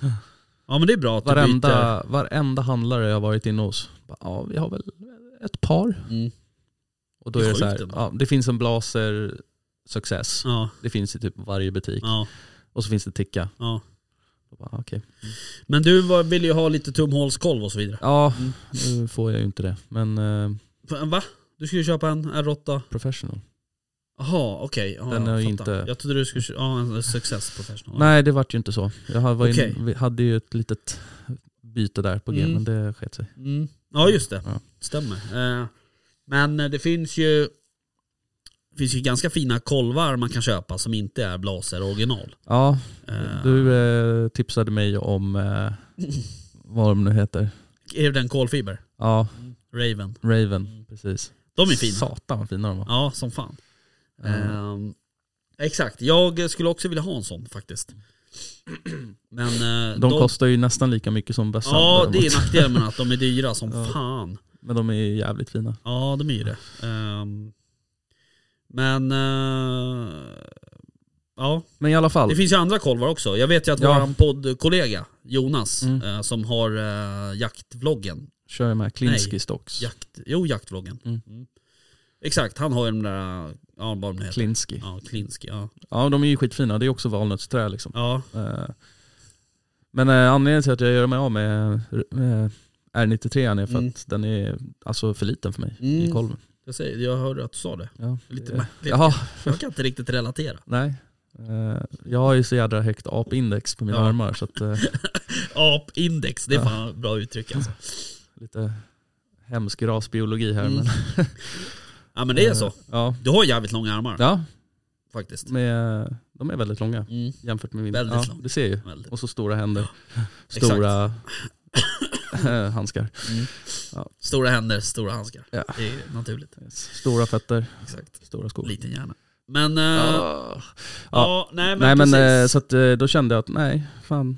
Speaker 3: Ja men det är bra att du
Speaker 4: Varenda, varenda handlare jag har varit inne hos, bara, ja vi har väl ett par.
Speaker 3: byter. Mm.
Speaker 4: Och då
Speaker 3: Det är
Speaker 4: det, är det, så
Speaker 3: sjukt
Speaker 4: här,
Speaker 3: ändå.
Speaker 4: ja, det finns en blaser success.
Speaker 3: Ja,
Speaker 4: Det finns i typ varje butik.
Speaker 3: ja,
Speaker 4: Och så finns det ticka.
Speaker 3: ja.
Speaker 4: Och bara, okej.
Speaker 3: Men du var, ville ju ha lite tumhålskolv och så vidare.
Speaker 4: Ja,
Speaker 3: Mm.
Speaker 4: nu får jag ju inte det. Men eh,
Speaker 3: Va? Du skulle köpa en R8?
Speaker 4: professional.
Speaker 3: Jaha, okej. Ja,
Speaker 4: Den är ju
Speaker 3: jag fattar.
Speaker 4: inte-
Speaker 3: Jag trodde du skulle köpa ja, en Success Professional.
Speaker 4: Nej det vart ju inte så. Jag har- var
Speaker 3: Okej.
Speaker 4: in, vi hade ju ett litet byte där på G
Speaker 3: Mm.
Speaker 4: men det sket sig.
Speaker 3: Mm. Ja just det,
Speaker 4: Ja.
Speaker 3: stämmer. Eh, Men eh, det finns ju det finns ju ganska fina kolvar man kan köpa som inte är blaser original.
Speaker 4: Ja,
Speaker 3: Eh,
Speaker 4: du eh, tipsade mig om eh, vad de nu heter.
Speaker 3: Är det den kolfiber?
Speaker 4: Ja,
Speaker 3: Raven.
Speaker 4: Raven. Precis.
Speaker 3: De är fina.
Speaker 4: Satan vad Mm. fina de var.
Speaker 3: Ja, som fan.
Speaker 4: Mm.
Speaker 3: Ehm, exakt, jag skulle också vilja ha en sån faktiskt. Men eh,
Speaker 4: De kostar ju nästan lika mycket som bössan.
Speaker 3: Ja, det
Speaker 4: däremot.
Speaker 3: är nackdelen med att de är dyra som
Speaker 4: (laughs) Ja.
Speaker 3: fan.
Speaker 4: Men de är ju jävligt fina.
Speaker 3: Ja, de är ju det. Ehm, men eh, ja,
Speaker 4: Men i alla fall.
Speaker 3: det finns ju andra kolvar också. Jag vet ju att
Speaker 4: Ja.
Speaker 3: våran poddkollega Jonas
Speaker 4: Mm.
Speaker 3: eh, som har eh, jaktvloggen.
Speaker 4: Kör jag med
Speaker 3: Nej.
Speaker 4: Klinsky Stocks.
Speaker 3: Jakt, jo, jaktvloggen.
Speaker 4: Mm.
Speaker 3: Mm. Exakt, han har ju den där, ja vad de heter.
Speaker 4: Klinsky.
Speaker 3: Ja, Klinski. Ja.
Speaker 4: Ja de är ju skitfina. Det är också valnötsträ liksom.
Speaker 3: ja,
Speaker 4: Eh, Men eh, anledningen till att jag gör mig av med, med R93 är för
Speaker 3: Mm.
Speaker 4: att den är alltså för liten för mig
Speaker 3: Mm.
Speaker 4: i kolven.
Speaker 3: jag, säger, jag hörde att du sa det.
Speaker 4: Ja,
Speaker 3: Lite
Speaker 4: det-
Speaker 3: märkligt.
Speaker 4: Jaha,
Speaker 3: Jag kan inte riktigt relatera.
Speaker 4: nej. Eh, Jag har ju så jädra högt apindex på mina
Speaker 3: Ja.
Speaker 4: armar så att eh,
Speaker 3: Apindex, det är
Speaker 4: Ja.
Speaker 3: fan ett bra uttryck alltså.
Speaker 4: lite hemsk rasbiologi här.
Speaker 3: Mm.
Speaker 4: Men,
Speaker 3: Ja men (laughs) det är
Speaker 4: eh,
Speaker 3: så.
Speaker 4: (laughs) Ja,
Speaker 3: Du har jävligt långa armar
Speaker 4: ja
Speaker 3: faktiskt.
Speaker 4: med, de är väldigt långa
Speaker 3: Mm.
Speaker 4: jämfört med mina.
Speaker 3: Väldigt
Speaker 4: ja,
Speaker 3: långa.
Speaker 4: Det ser jag ju.
Speaker 3: Väldigt.
Speaker 4: Och så
Speaker 3: (laughs)
Speaker 4: stora händer, stora (laughs)
Speaker 3: (laughs)
Speaker 4: handskar,
Speaker 3: Stora händer, stora handskar.
Speaker 4: Mm. Ja.
Speaker 3: Det är naturligt.
Speaker 4: stora fötter,
Speaker 3: Exakt.
Speaker 4: stora skor.
Speaker 3: Liten hjärna. Men, eh, ja.
Speaker 4: Ah.
Speaker 3: nej men,
Speaker 4: Nej men eh,
Speaker 3: precis.
Speaker 4: så att, eh, då kände jag att nej, fan.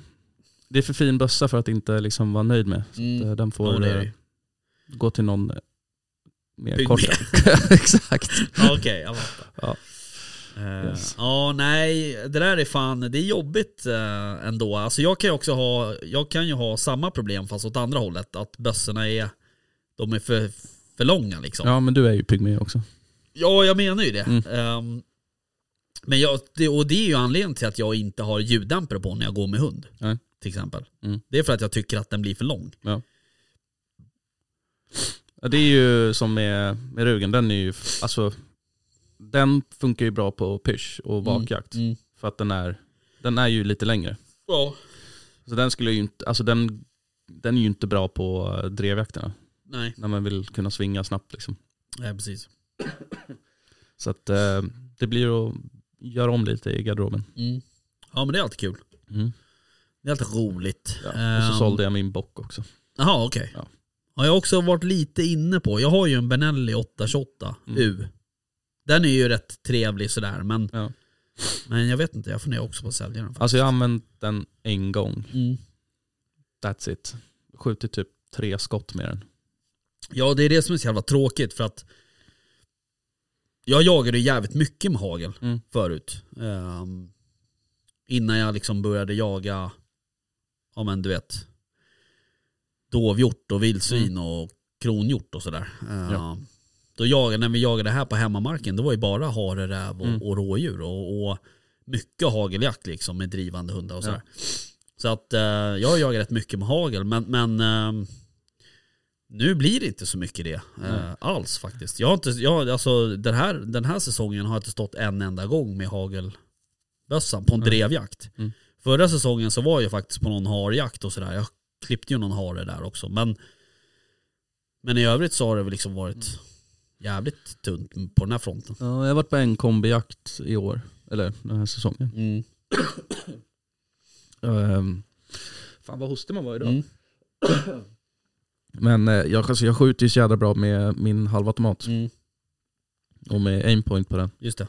Speaker 4: Det är för fin bössa för att inte liksom vara nöjd med. Så att,
Speaker 3: Mm.
Speaker 4: eh, den
Speaker 3: Ja,
Speaker 4: får,
Speaker 3: det är det
Speaker 4: eh,
Speaker 3: ju.
Speaker 4: gå till någon eh, mer
Speaker 3: Bygg (laughs)
Speaker 4: korta. (laughs) Exakt.
Speaker 3: Ja, Okej, jag fattar.
Speaker 4: Ja.
Speaker 3: Eh,
Speaker 4: Yes.
Speaker 3: Ja, nej, det där är fan, det är jobbigt eh, ändå. Alltså jag kan ju också ha, jag kan ju ha samma problem fast åt andra hållet. Att bössorna är, de är för, för långa liksom.
Speaker 4: Ja men du är ju pygmé också.
Speaker 3: Ja, jag menar ju det.
Speaker 4: Mm.
Speaker 3: Ehm, men jag, det, och det är ju anledningen till att jag inte har ljuddämpare på när jag går med hund.
Speaker 4: Nej.
Speaker 3: Till exempel.
Speaker 4: Mm.
Speaker 3: Det är för att jag tycker att den blir för lång.
Speaker 4: Ja, det är ju som med, med rugen, den är ju, alltså den funkar ju bra på pysch och bakjakt.
Speaker 3: Mm.
Speaker 4: För att den är, den är ju lite längre.
Speaker 3: Ja.
Speaker 4: Så den skulle ju inte, alltså den, den är ju inte bra på eh, drevjakterna.
Speaker 3: Nej,
Speaker 4: När man vill kunna svinga snabbt liksom.
Speaker 3: nej precis.
Speaker 4: Så att eh, det blir att göra om lite i garderoben.
Speaker 3: Mm. Ja men det är alltid kul.
Speaker 4: Mm.
Speaker 3: Det är alltid roligt.
Speaker 4: Ja. Och så
Speaker 3: Ehm,
Speaker 4: sålde jag min bock också.
Speaker 3: Jaha okej.
Speaker 4: Ja.
Speaker 3: Ja, jag har också varit lite inne på, jag har ju en Benelli 828
Speaker 4: Mm.
Speaker 3: U. Den är ju rätt trevlig sådär men,
Speaker 4: Ja.
Speaker 3: men jag vet inte, jag funderar också på att sälja den.
Speaker 4: Alltså jag har använt den en gång,
Speaker 3: Mm.
Speaker 4: that's it. Skjutit typ tre skott med den.
Speaker 3: Ja, det är det som är så jävla tråkigt för att jag jagade ju jävligt mycket med hagel
Speaker 4: Mm.
Speaker 3: förut. Ehm, innan jag liksom började jaga, ja men du vet, dovhjort och vildsvin och kronhjort och sådär. Ehm,
Speaker 4: Mm. Ja.
Speaker 3: Då jagade, när vi jagade här på hemmamarken, det var ju bara hare, räv och,
Speaker 4: Mm.
Speaker 3: och rådjur och, och mycket hageljakt liksom med drivande hundar och sådär. Så att eh, jag har jagat rätt mycket med hagel men, men ehm, nu blir det inte så mycket det eh,
Speaker 4: Nej.
Speaker 3: alls faktiskt. Jag har inte, jag, har- alltså, den, här, den här säsongen har jag inte stått en enda gång med hagelbössan på en
Speaker 4: Nej.
Speaker 3: drevjakt.
Speaker 4: Mm.
Speaker 3: Förra säsongen så var jag faktiskt på någon harjakt och sådär. Jag klippte ju någon hare där också. Men, men i övrigt så har det väl liksom
Speaker 4: Mm.
Speaker 3: varit jävligt tunt på den här fronten.
Speaker 4: Ja, jag har varit på en kombijakt i år, eller den här säsongen.
Speaker 3: Mm.
Speaker 4: Ehm, fan vad hostig man var idag.
Speaker 3: Mm.
Speaker 4: Men eh, jag, alltså, jag skjuter ju så jävla bra med min halvautomat
Speaker 3: Mm.
Speaker 4: och med aimpoint på den.
Speaker 3: Just det.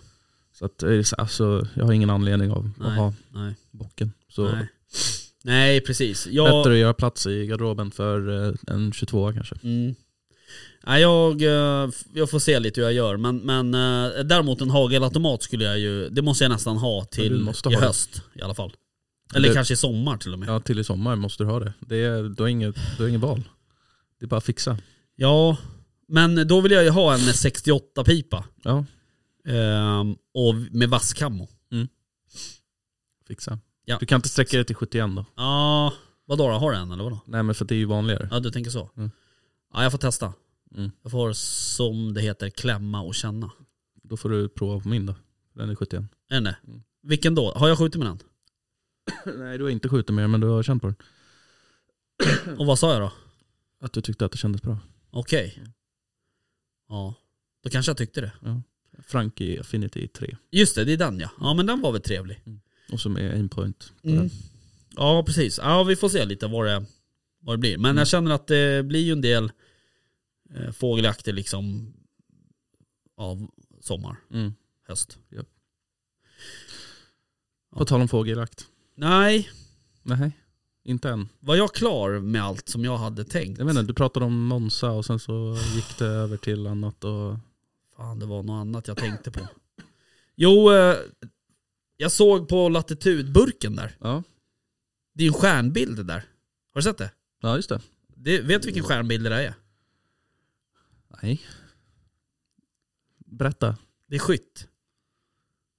Speaker 4: Så att, eh, alltså, jag har ingen anledning av
Speaker 3: Nej.
Speaker 4: att ha
Speaker 3: Nej.
Speaker 4: bocken. Så
Speaker 3: Nej. Nej, precis. Jag,
Speaker 4: bättre att göra plats i garderoben för eh, en 22 kanske.
Speaker 3: Mm. Nej, jag, eh, f- jag får se lite hur jag gör. Men, men eh, däremot en hagelautomat skulle jag ju, det måste jag nästan ha
Speaker 4: du
Speaker 3: till
Speaker 4: måste
Speaker 3: i
Speaker 4: ha det.
Speaker 3: höst i alla fall. Eller
Speaker 4: Det-
Speaker 3: kanske i sommar till och med. Ja,
Speaker 4: Ja, till i sommar måste du ha det. det är, du, har inget, du har inget val. Det är bara att fixa.
Speaker 3: men då vill jag ju ha en 68-pipa.
Speaker 4: Ja,
Speaker 3: ehm, och med vass kammo.
Speaker 4: fixa.
Speaker 3: Ja.
Speaker 4: Du kan inte sträcka dig till 71 då?
Speaker 3: Ja, vadå då? Har du en eller vadå?
Speaker 4: Nej men för det är ju vanligare.
Speaker 3: Ja, du tänker så?
Speaker 4: Mm.
Speaker 3: Ja, jag får testa.
Speaker 4: Mm.
Speaker 3: Jag får, som det heter, klämma och känna.
Speaker 4: Då får du prova på min då. Den är 71.
Speaker 3: Är den det?
Speaker 4: Mm.
Speaker 3: Vilken då? Har jag skjutit med den?
Speaker 4: Nej du har inte skjutit mer men du har känt på den. Mm.
Speaker 3: Och vad sa jag då?
Speaker 4: Att du tyckte att det kändes bra.
Speaker 3: Okej. Ja, då kanske jag tyckte det.
Speaker 4: Frankie Affinity 3.
Speaker 3: Just det, det är den ja. Ja men den var väl trevlig.
Speaker 4: Och så med aimpoint. på
Speaker 3: Mm.
Speaker 4: den.
Speaker 3: Ja precis. Ja vi får se lite vad det, vad det blir. Men jag känner att det blir ju en del eh, fågeljakter liksom av sommar,
Speaker 4: Mm.
Speaker 3: höst.
Speaker 4: På tal om fågeljakt.
Speaker 3: Nej,
Speaker 4: Nej, inte än.
Speaker 3: var jag klar med allt som jag hade tänkt?
Speaker 4: Jag vet inte, du pratade om Monza och sen så gick det över till annat och...
Speaker 3: Fan det var något annat jag tänkte på. Jo, eh, jag såg på latitudburken där.
Speaker 4: Ja,
Speaker 3: Det är en stjärnbild det där. Har du sett det?
Speaker 4: ja just det.
Speaker 3: det vet du vilken stjärnbild det där är?
Speaker 4: Nej. Berätta.
Speaker 3: Det är skytt.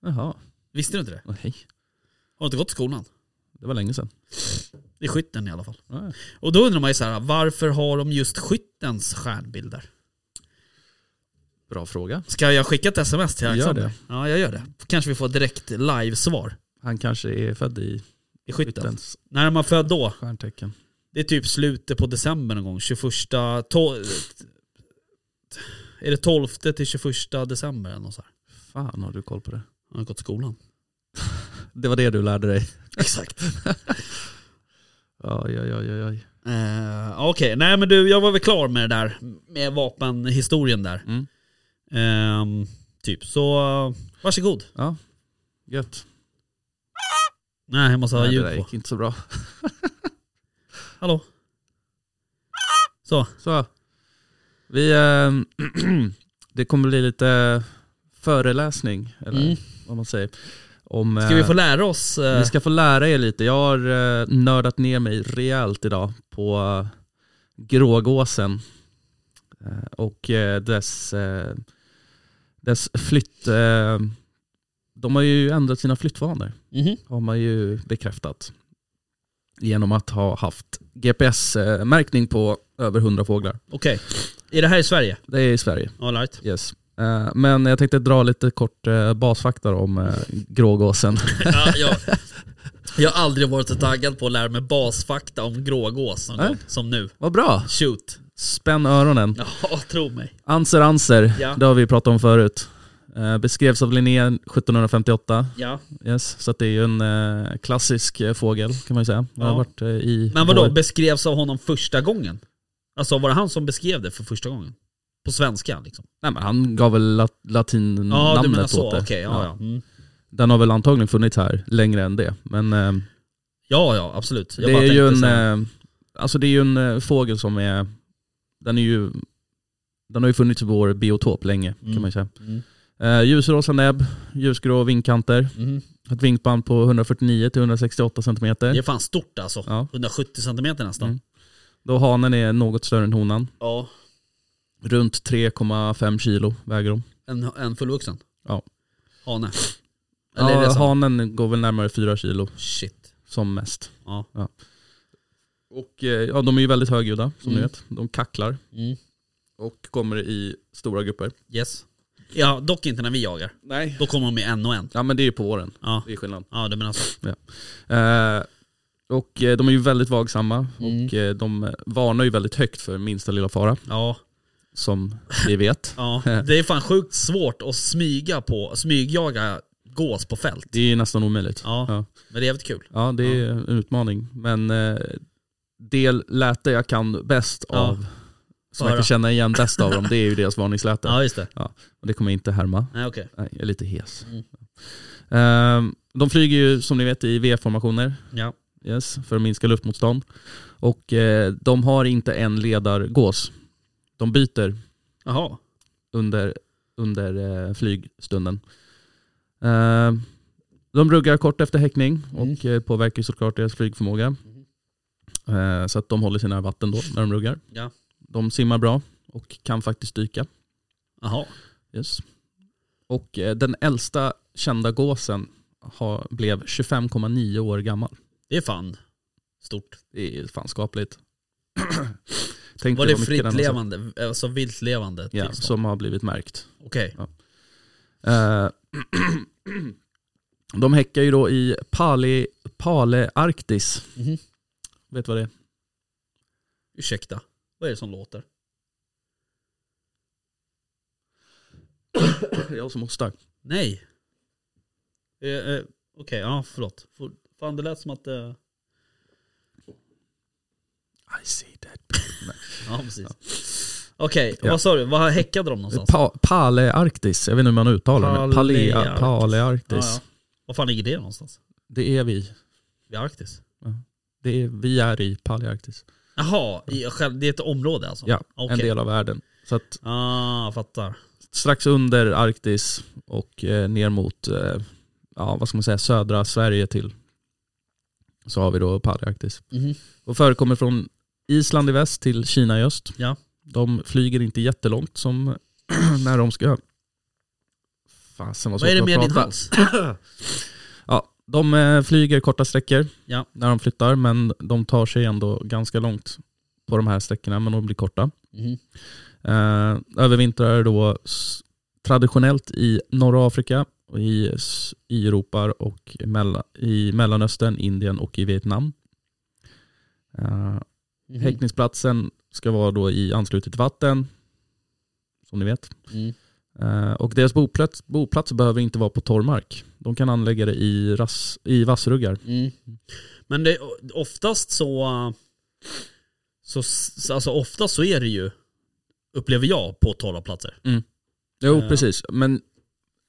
Speaker 4: Jaha,
Speaker 3: Visste du inte det?
Speaker 4: nej.
Speaker 3: Har du inte gått i skolan?
Speaker 4: Det var länge sedan.
Speaker 3: Det är skytten i alla fall.
Speaker 4: Ja.
Speaker 3: Och då undrar man ju så här, varför har de just skyttens stjärnbilder?
Speaker 4: Bra fråga.
Speaker 3: Ska jag skicka ett sms till
Speaker 4: Gör
Speaker 3: Alexander?
Speaker 4: det.
Speaker 3: Ja, jag gör det. Kanske vi får direkt live-svar
Speaker 4: Han kanske är född i
Speaker 3: i skytten.
Speaker 4: skyttens
Speaker 3: När är man född då?
Speaker 4: stjärntecken.
Speaker 3: Det är typ slutet på december någon gång. 21... To- är det 12 till 21 december? Eller något så här.
Speaker 4: Fan har du koll på det.
Speaker 3: Jag har gått i skolan.
Speaker 4: Det var det du lärde dig.
Speaker 3: Exakt.
Speaker 4: Oj, oj, oj, oj, oj.
Speaker 3: Uh, Okej, nej men du, jag var väl klar med det där. Med vapenhistorien där.
Speaker 4: Mm.
Speaker 3: Ehm, typ, så eh, varsågod.
Speaker 4: Ja, gött.
Speaker 3: Nej, jag måste ha
Speaker 4: Nej, det
Speaker 3: ljud
Speaker 4: där
Speaker 3: på.
Speaker 4: gick inte så bra.
Speaker 3: Hallå? Så,
Speaker 4: Så, Vi, eh, (clears throat) det kommer bli lite föreläsning, eller
Speaker 3: Mm.
Speaker 4: vad man säger. Om,
Speaker 3: Ska vi
Speaker 4: eh,
Speaker 3: få lära oss? eh,
Speaker 4: Ni ska få lära er lite. Jag har eh, nördat ner mig rejält idag på eh, Grågåsen eh, och eh, dess, eh, dess flytt. Eh, de har ju ändrat sina flyttvanor,
Speaker 3: mhm.
Speaker 4: har man ju bekräftat. Genom att ha haft GPS-märkning på över 100 fåglar.
Speaker 3: Okej. Är det här i Sverige?
Speaker 4: Det är i Sverige.
Speaker 3: All
Speaker 4: (laughs)
Speaker 3: right.
Speaker 4: Yes. Eh, Men jag tänkte dra lite kort eh, basfakta då om eh, grågåsen. (laughs)
Speaker 3: ja, jag, jag har aldrig varit så taggad på att lära mig basfakta om grågås någon
Speaker 4: Nej.
Speaker 3: gång, som nu.
Speaker 4: Vad bra!
Speaker 3: Shoot.
Speaker 4: Spänn öronen.
Speaker 3: Ja, tro mig.
Speaker 4: Anser Anser,
Speaker 3: Ja.
Speaker 4: det har vi pratat om förut. Eh, beskrevs av Linné 1758.
Speaker 3: Ja.
Speaker 4: Yes, så att det är ju en eh, klassisk eh, fågel kan man ju säga. Den
Speaker 3: Ja.
Speaker 4: Har varit, eh, i
Speaker 3: Men vadå,
Speaker 4: vår-
Speaker 3: beskrevs av honom första gången? Alltså var det han som beskrev det för första gången? På svenska liksom?
Speaker 4: Nej, men han gav väl lat latinnamnet
Speaker 3: Ja, du menar
Speaker 4: åt
Speaker 3: så.
Speaker 4: det.
Speaker 3: Okej, ja, ja. Mm.
Speaker 4: Den har väl antagligen funnits här längre än det. Men eh,
Speaker 3: ja, ja, absolut. Jag
Speaker 4: det,
Speaker 3: bara
Speaker 4: är ju
Speaker 3: tänkte
Speaker 4: en,
Speaker 3: så här,
Speaker 4: eh, alltså det är ju en eh, fågel som är, den är ju, den har ju funnits i vår biotop länge
Speaker 3: Mm.
Speaker 4: kan man ju säga.
Speaker 3: Mm.
Speaker 4: Eh, ljusrosa näbb, ljusgrå vindkanter.
Speaker 3: mhm.
Speaker 4: Ett vinkband på 149 till 168 cm.
Speaker 3: Det är fan stort alltså.
Speaker 4: Ja.
Speaker 3: 170 centimeter nästan.
Speaker 4: Mm. Då hanen är något större än honan.
Speaker 3: Ja.
Speaker 4: Runt 3,5 kilo väger de.
Speaker 3: En, en fullvuxen?
Speaker 4: Ja.
Speaker 3: Hane? Eller är det
Speaker 4: Ja,
Speaker 3: så?
Speaker 4: hanen går väl närmare 4 kilo
Speaker 3: Shit.
Speaker 4: som mest.
Speaker 3: Ja.
Speaker 4: Och eh, ja, de är ju väldigt högljudda som
Speaker 3: Mm.
Speaker 4: ni vet. De kacklar
Speaker 3: Mm.
Speaker 4: och kommer i stora grupper.
Speaker 3: Yes. Ja, dock inte när vi jagar.
Speaker 4: Nej.
Speaker 3: Då kommer de ju en och en.
Speaker 4: Ja men det är ju på våren.
Speaker 3: Ja,
Speaker 4: Det är skillnad.
Speaker 3: ja du menar så.
Speaker 4: Eh, och eh, de är ju väldigt vagsamma
Speaker 3: Mm.
Speaker 4: och eh, de varnar ju väldigt högt för minsta lilla fara
Speaker 3: Ja,
Speaker 4: som vi vet. (laughs)
Speaker 3: ja. Det är fan sjukt svårt att smyga på, smygjaga gås på fält.
Speaker 4: Det är ju nästan omöjligt.
Speaker 3: Ja.
Speaker 4: Ja.
Speaker 3: Men det är jävligt kul.
Speaker 4: Ja, det är en utmaning. Men eh, det läte jag kan bäst
Speaker 3: Ja.
Speaker 4: av, som jag
Speaker 3: Höra.
Speaker 4: kan känna igen bäst av dem, det är ju deras varningsläte.
Speaker 3: Ja, just det.
Speaker 4: Och det kommer jag inte härma.
Speaker 3: Nej, okej.
Speaker 4: Nej, jag är lite hes.
Speaker 3: Mm.
Speaker 4: Ehm, de flyger ju som ni vet i V-formationer
Speaker 3: Ja.
Speaker 4: yes, för att minska luftmotstånd. Och eh, de har inte en ledargås. De byter
Speaker 3: Jaha.
Speaker 4: under, under eh, flygstunden. Eh, de ruggar kort efter häckning och
Speaker 3: Mm.
Speaker 4: eh, påverkar såklart deras flygförmåga. Eh, så att de håller sina vatten då när de ruggar.
Speaker 3: Ja.
Speaker 4: De simmar bra och kan faktiskt dyka.
Speaker 3: Jaha.
Speaker 4: Yes. Och eh, den äldsta kända gåsen har, blev 25,9 år gammal.
Speaker 3: Det är fan stort.
Speaker 4: Det är fan skapligt. (clears throat) Tänk
Speaker 3: Var
Speaker 4: dig
Speaker 3: det
Speaker 4: vad mycket den
Speaker 3: fritt
Speaker 4: har-
Speaker 3: levande? Alltså vilt levande?
Speaker 4: Ja,
Speaker 3: tillstånd?
Speaker 4: som har blivit märkt.
Speaker 3: Okej.
Speaker 4: Eh, (clears throat) De häckar ju då i Pali, Pale Arktis.
Speaker 3: Mhm.
Speaker 4: Vet du vad det är?
Speaker 3: Ursäkta. Vad är det som låter?
Speaker 4: Jag som hostar.
Speaker 3: Nej. Eh, eh, Okej, ja förlåt. For- Fan det lät som att... Eh...
Speaker 4: I see that.
Speaker 3: Ja precis. Okej,
Speaker 4: Ja.
Speaker 3: vad sa du? Vad häckade de någonstans?
Speaker 4: Pa, Pale Arktis, jag vet inte hur man uttalar det.
Speaker 3: Pale
Speaker 4: Pale,
Speaker 3: Arktis.
Speaker 4: Pale
Speaker 3: Ja,
Speaker 4: Arktis.
Speaker 3: ja. Var fan ligger det någonstans?
Speaker 4: Det är vi.
Speaker 3: Vid Arktis?
Speaker 4: Det är, vi är i Pale Arktis.
Speaker 3: Jaha, i, själv- det är ett område alltså?
Speaker 4: Ja,
Speaker 3: Okej.
Speaker 4: en del av världen. Så att
Speaker 3: Ah, jag fattar.
Speaker 4: strax under Arktis och eh, ner mot eh, ja, vad ska man säga, södra Sverige till så har vi då Palearktis.
Speaker 3: Mhm.
Speaker 4: Och förekommer från Island i väst till Kina i öst.
Speaker 3: Ja.
Speaker 4: De flyger inte jättelångt som (clears throat) när de ska... Fasen vad
Speaker 3: Vad är det
Speaker 4: svårt att
Speaker 3: med din
Speaker 4: prata.
Speaker 3: hals?
Speaker 4: Ja, de eh, flyger korta sträckor
Speaker 3: Ja.
Speaker 4: när de flyttar men de tar sig ändå ganska långt på de här sträckorna men de blir korta.
Speaker 3: Mhm.
Speaker 4: Eh, övervintrar då s- traditionellt i norra Afrika, och i, s- i Europa och i Mella, i Mellanöstern, Indien och i Vietnam. Eh,
Speaker 3: Mhm.
Speaker 4: Häckningsplatsen ska vara då i anslutet till vatten, som ni vet.
Speaker 3: Mm.
Speaker 4: Eh, och deras boplats, boplats behöver inte vara på torr mark. De kan anlägga det i, ras, i vassruggar.
Speaker 3: Mm. Men det, oftast så, äh, så, så alltså oftast så är det ju, upplever jag, på torra platser.
Speaker 4: Jo,
Speaker 3: Ja.
Speaker 4: precis. Men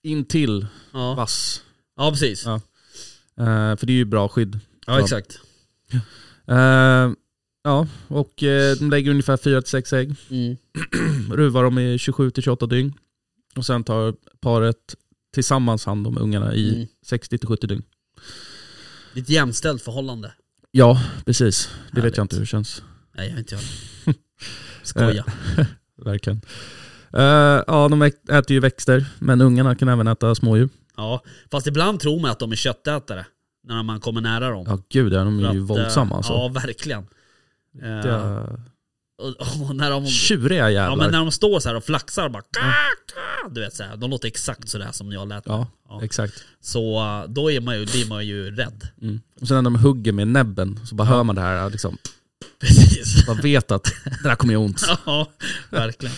Speaker 4: intill
Speaker 3: Ja,
Speaker 4: vass.
Speaker 3: ja precis.
Speaker 4: Ja. Eh, för det är ju bra skydd
Speaker 3: Ja exakt.
Speaker 4: Eh, Ja, och eh, de lägger ungefär 4-6 ägg.
Speaker 3: Mm.
Speaker 4: ruvar dem i 27-28 dygn. Och sen tar paret tillsammans hand om ungarna i
Speaker 3: Mm.
Speaker 4: 60-70 dygn.
Speaker 3: Det är ett jämställt förhållande.
Speaker 4: Ja, precis. Det vet
Speaker 3: Härligt.
Speaker 4: jag inte hur det känns.
Speaker 3: Nej, jag vet inte jag.
Speaker 4: (laughs)
Speaker 3: Skoja.
Speaker 4: Verkligen. Eh, ja, de ä- äter ju växter, men ungarna kan även äta smådjur.
Speaker 3: Ja, fast ibland tror man att de är köttätare när man kommer nära dem.
Speaker 4: Ja, gud ja, de är
Speaker 3: För
Speaker 4: ju
Speaker 3: att, eh,
Speaker 4: våldsamma alltså.
Speaker 3: Ja, verkligen. Eh,
Speaker 4: Ja.
Speaker 3: och, och när de,
Speaker 4: Tjuriga
Speaker 3: ja,
Speaker 4: jävlar. Mm.
Speaker 3: men när de står så här och flaxar bara Du vet så här, de låter exakt sådär som jag lät.
Speaker 4: Ja,
Speaker 3: Ja.
Speaker 4: exakt.
Speaker 3: Så eh, då är man ju, blir man ju rädd. (laughs)
Speaker 4: Mm. Och sen när de hugger med näbben så bara hör man det här, liksom,
Speaker 3: Precis.
Speaker 4: man vet att det där kommer göra
Speaker 3: (laughs)
Speaker 4: ont.
Speaker 3: ja, verkligen.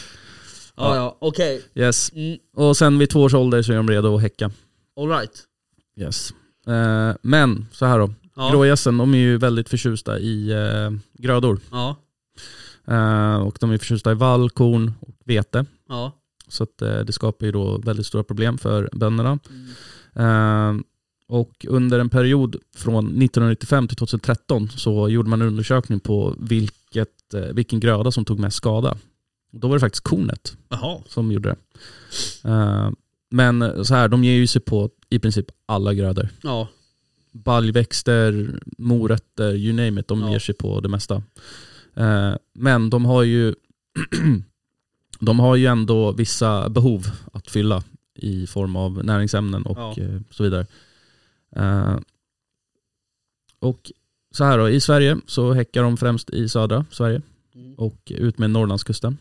Speaker 3: Ja, ja, okej.
Speaker 4: Yes.
Speaker 3: Mm,
Speaker 4: Och sen vid två års ålder så är de redo att häcka.
Speaker 3: all right.
Speaker 4: Yes. Eh, men så här då,
Speaker 3: Ja,
Speaker 4: grågässen de är ju väldigt förtjusta i eh, grödor.
Speaker 3: ja,
Speaker 4: Eh, och de är förtjusta i vall, korn och vete.
Speaker 3: ja.
Speaker 4: Så att, eh, det skapar ju då väldigt stora problem för bönderna.
Speaker 3: Mm.
Speaker 4: Eh, och under en period från 1995 till 2013 så gjorde man en undersökning på vilket, eh, vilken gröda som tog mest skada. Då var det faktiskt kornet
Speaker 3: Jaha.
Speaker 4: som gjorde det. Eh, men så här, de ger ju sig på i princip alla grödor.
Speaker 3: Ja,
Speaker 4: Baljväxter, morötter, you name it. De
Speaker 3: Ja.
Speaker 4: ger sig på det mesta. Eh, men de har ju (clears throat) de har ju ändå vissa behov att fylla i form av näringsämnen och
Speaker 3: Ja.
Speaker 4: eh, så vidare. Eh, och så här då, i Sverige så häckar de främst i södra Sverige
Speaker 3: Mm.
Speaker 4: och ut med Norrlandskusten.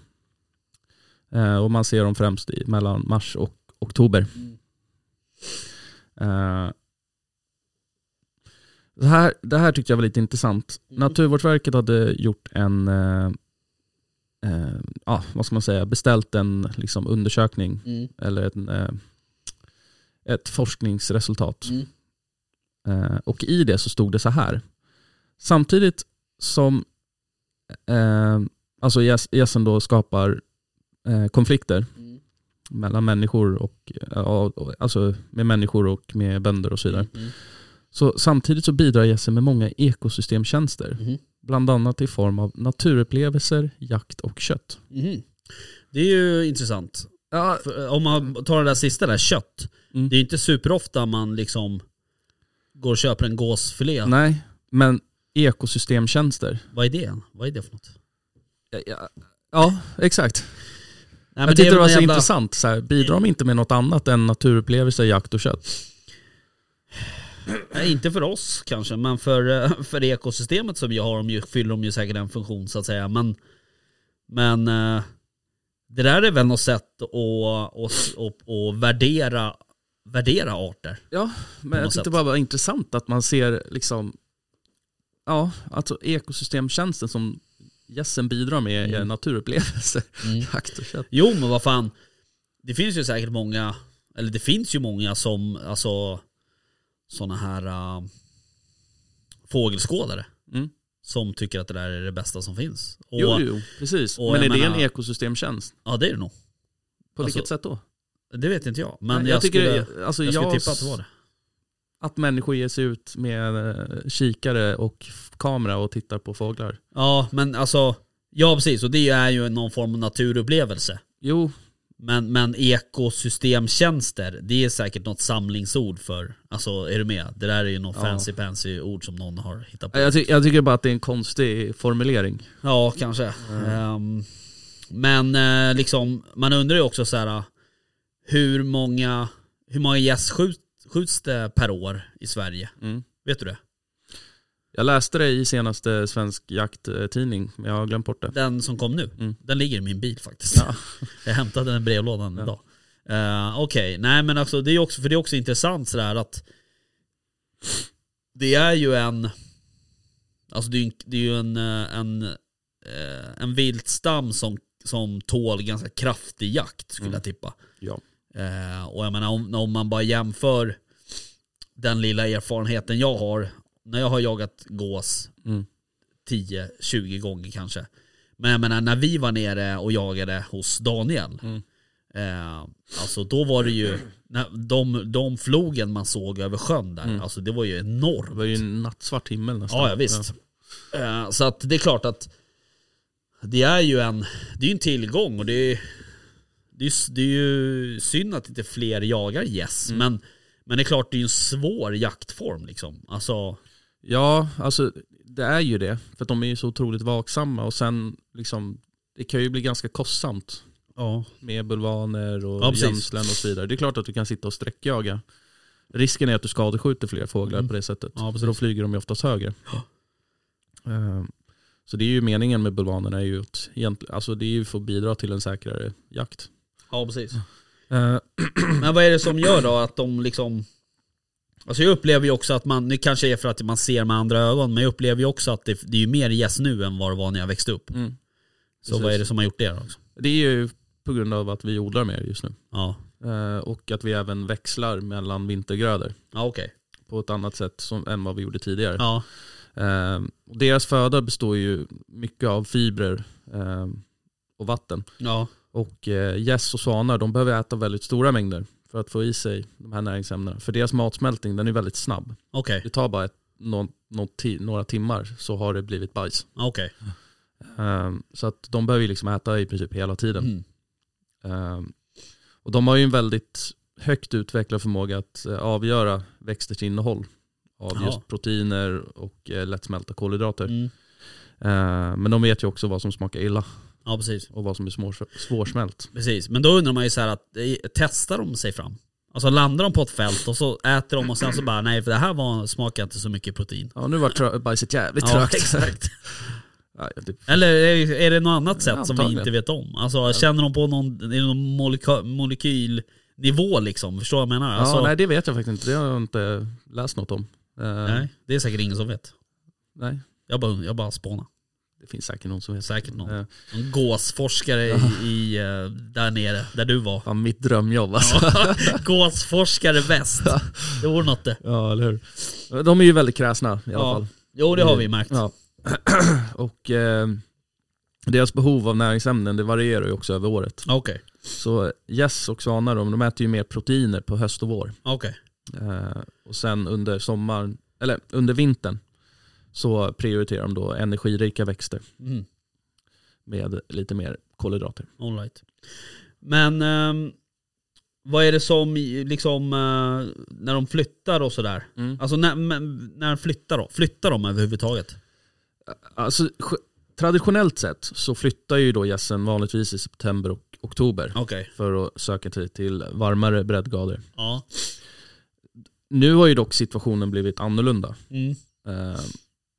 Speaker 4: Eh, och man ser dem främst i, mellan mars och oktober.
Speaker 3: Mm.
Speaker 4: Eh, det, här, det här tyckte jag var lite intressant.
Speaker 3: Mm.
Speaker 4: Naturvårdsverket hade gjort en, eh, eh, ja, vad ska man säga, beställt en liksom, undersökning
Speaker 3: mm,
Speaker 4: eller en, eh, ett forskningsresultat.
Speaker 3: mm.
Speaker 4: Eh, och i det så stod det så här. Samtidigt som eh, alltså gäs- gässen då skapar eh, konflikter
Speaker 3: Mm.
Speaker 4: mellan människor och, ja, och- alltså med människor och med bönder och så vidare.
Speaker 3: Mm.
Speaker 4: Så samtidigt så bidrar gässen med många ekosystemtjänster,
Speaker 3: Mhm.
Speaker 4: bland annat i form av naturupplevelser, jakt och kött.
Speaker 3: Mhm. Det är ju intressant.
Speaker 4: Ja,
Speaker 3: För, eh, om man tar det där sista där, kött.
Speaker 4: Mm.
Speaker 3: Det är ju inte superofta man liksom går och köper en gåsfilé.
Speaker 4: Nej, men ekosystemtjänster.
Speaker 3: Vad är det? Vad är det för något?
Speaker 4: Ja, Ja, ja exakt.
Speaker 3: Nej,
Speaker 4: jag tyckte det,
Speaker 3: är
Speaker 4: var
Speaker 3: väl
Speaker 4: så
Speaker 3: en jävla-
Speaker 4: intressant. Så här, bidrar de inte med något annat än naturupplevelser, jakt och kött?
Speaker 3: Nej, inte för oss kanske, men för, eh, för ekosystemet som jag har de ju, fyller de ju säkert en funktion så att säga. Men, men eh, det där är väl något sätt att, att, att, att värdera, värdera arter.
Speaker 4: Ja,
Speaker 3: På
Speaker 4: men jag
Speaker 3: något
Speaker 4: tyckte
Speaker 3: sätt.
Speaker 4: bara det var intressant att man ser liksom, ja, alltså ekosystemtjänsten som gässen bidrar med är
Speaker 3: Mm.
Speaker 4: naturupplevelser, (laughs) jakt och kött.
Speaker 3: Jo men vad fan, det finns ju säkert många, eller det finns ju många som, alltså sådana här äh, fågelskådare
Speaker 4: Mm.
Speaker 3: som tycker att det där är det bästa som finns. Och,
Speaker 4: Jo, jo, precis.
Speaker 3: och
Speaker 4: Men är
Speaker 3: jag
Speaker 4: det en
Speaker 3: menar-
Speaker 4: ekosystemtjänst?
Speaker 3: Ja det är det nog.
Speaker 4: På
Speaker 3: Alltså,
Speaker 4: vilket sätt då?
Speaker 3: Det vet inte jag. Men
Speaker 4: Men
Speaker 3: jag,
Speaker 4: jag, tycker,
Speaker 3: skulle,
Speaker 4: det- alltså,
Speaker 3: jag
Speaker 4: jag,
Speaker 3: skulle tippa att det var det.
Speaker 4: att människor ger sig ut med eh, kikare och f- kamera och tittar på fåglar.
Speaker 3: Ja men alltså, ja precis och det är ju någon form av naturupplevelse.
Speaker 4: Jo,
Speaker 3: Men, men ekosystemtjänster, det är säkert något samlingsord för, alltså är du med? Det där är ju något
Speaker 4: Ja.
Speaker 3: fancy fancy ord som någon har hittat på.
Speaker 4: jag, ty- jag tycker bara att det är en konstig formulering.
Speaker 3: Ja, kanske.
Speaker 4: Mm.
Speaker 3: Ehm, men eh, liksom, man undrar ju också så här, hur många, hur många gäss skjut, skjuts det per år i Sverige?
Speaker 4: Mm.
Speaker 3: Vet du det?
Speaker 4: Jag läste det i senaste Svensk Jakttidning, men jag har glömt bort det.
Speaker 3: Den som kom nu,
Speaker 4: Mm.
Speaker 3: den ligger i min bil faktiskt.
Speaker 4: Ja.
Speaker 3: (laughs) Jag hämtade den i brevlådan idag. Eh, Okej, nej men alltså det är ju också, för det är också intressant sådär att det är ju en, alltså det är ju en, det är ju en, eh, en, eh, en viltstam som, som tål ganska kraftig jakt skulle
Speaker 4: Mm.
Speaker 3: jag tippa.
Speaker 4: Ja.
Speaker 3: Eh, och jag menar om, om man bara jämför den lilla erfarenheten jag har, när jag har jagat gås
Speaker 4: Mm.
Speaker 3: 10-20 gånger kanske. Men jag menar när vi var nere och jagade hos Daniel.
Speaker 4: Mm.
Speaker 3: Eh, alltså då var det ju, när de, de
Speaker 4: Mm.
Speaker 3: flogen man såg över sjön där, alltså det var ju
Speaker 4: Det
Speaker 3: enormt.
Speaker 4: var ju en nattsvart himmel nästan.
Speaker 3: ja, ja visst. Eh, Så att det är klart att det är ju en, det är ju en tillgång och det är, det är, ju- det är ju synd att inte fler jagar gäss. Men, men det är klart det är ju en svår jaktform liksom. Alltså,
Speaker 4: Ja, alltså det är ju det. För att de är ju så otroligt vaksamma och sen liksom, det kan ju bli ganska kostsamt
Speaker 3: ja.
Speaker 4: med bulvaner och
Speaker 3: Ja, precis.
Speaker 4: gömslen och så vidare. Det är klart att du kan sitta och sträckjaga. Risken är att du skadeskjuter fler fåglar på det sättet.
Speaker 3: Mm. Ja, precis.
Speaker 4: för då flyger de ju oftast högre. Eh, Så det är ju meningen med bulvanerna, är ju att, egentligen- alltså det är ju för att bidra till en säkrare jakt.
Speaker 3: ja precis.
Speaker 4: Eh,
Speaker 3: Men vad är det som gör då att de liksom Alltså jag upplever ju också att man, det kanske är för att man ser med andra ögon, men jag upplever ju också att det, det är ju mer gäss nu än vad det var när jag växte upp.
Speaker 4: Mm.
Speaker 3: Så
Speaker 4: Precis.
Speaker 3: vad är det som har gjort det då? Också?
Speaker 4: Det är ju på grund av att vi odlar mer just nu.
Speaker 3: Ja,
Speaker 4: Eh, Och att vi även växlar mellan vintergrödor
Speaker 3: ja okej.
Speaker 4: på ett annat sätt som, än vad vi gjorde tidigare.
Speaker 3: Ja.
Speaker 4: Eh, och deras föda består ju mycket av fibrer eh, och vatten.
Speaker 3: ja,
Speaker 4: Och eh, gäss och svanar de behöver äta väldigt stora mängder för att få i sig de här näringsämnena. För deras matsmältning den är väldigt snabb.
Speaker 3: okej.
Speaker 4: Det tar bara ett, nå, nå, ti, några timmar så har det blivit bajs.
Speaker 3: Ja, Okej.
Speaker 4: Eh, så att de behöver ju liksom äta i princip hela tiden.
Speaker 3: Mm.
Speaker 4: Eh, och de har ju en väldigt högt utvecklad förmåga att eh, avgöra växters innehåll av
Speaker 3: Ja.
Speaker 4: just proteiner och eh, lättsmälta kolhydrater.
Speaker 3: Mm.
Speaker 4: Eh, Men de vet ju också vad som smakar illa
Speaker 3: Ja precis.
Speaker 4: och vad som är svår, svårsmält.
Speaker 3: precis. Men då undrar man ju så här att, eh, testar de sig fram? Alltså landar de på ett fält och så äter de och sen så bara nej för det här var, smakar inte så mycket protein.
Speaker 4: Ja nu var trö- bajset jävligt
Speaker 3: Ja, (laughs)
Speaker 4: trögt.
Speaker 3: exakt.
Speaker 4: (laughs) Ja, typ. det-
Speaker 3: Eller är, är det något annat sätt som vi
Speaker 4: Antagligen.
Speaker 3: inte vet om? Alltså känner de på någon, är det någon moleka- molekylnivå liksom? Förstår du vad jag menar?
Speaker 4: ja,
Speaker 3: Alltså,
Speaker 4: nej det vet jag faktiskt inte, det har jag inte läst något om. Eh,
Speaker 3: nej, det är säkert ingen som vet.
Speaker 4: nej.
Speaker 3: Jag bara, jag bara spånar.
Speaker 4: Det finns säkert någon som vet.
Speaker 3: Säkert någon.
Speaker 4: Eh,
Speaker 3: En gåsforskare i, i, eh, där nere, där du var.
Speaker 4: Fan mitt drömjobb alltså.
Speaker 3: (laughs) Gåsforskare väst. Det vore något eh. det.
Speaker 4: (laughs) Ja eller hur. Eh, De är ju väldigt kräsna i alla
Speaker 3: Ja.
Speaker 4: fall. Mm.
Speaker 3: Jo det har vi märkt.
Speaker 4: Ja. (clears throat) Och eh, deras behov av näringsämnen det varierar ju också över året.
Speaker 3: Okej,
Speaker 4: Så gäss och svanar de, de äter ju mer proteiner på höst och vår.
Speaker 3: okej.
Speaker 4: Eh, och sen under sommaren, eller under vintern så prioriterar de då energirika växter
Speaker 3: Mm.
Speaker 4: med lite mer kolhydrater.
Speaker 3: All right. Men ehm, vad är det som i- liksom eh, när de flyttar och sådär?
Speaker 4: Mm.
Speaker 3: Alltså när, men, när de flyttar då? Flyttar de överhuvudtaget?
Speaker 4: Alltså, sj- traditionellt sett så flyttar ju då gässen vanligtvis i september och oktober
Speaker 3: Okej.
Speaker 4: för att söka sig till varmare breddgrader.
Speaker 3: Ja.
Speaker 4: Nu har ju dock situationen blivit annorlunda.
Speaker 3: Mm.
Speaker 4: Eh,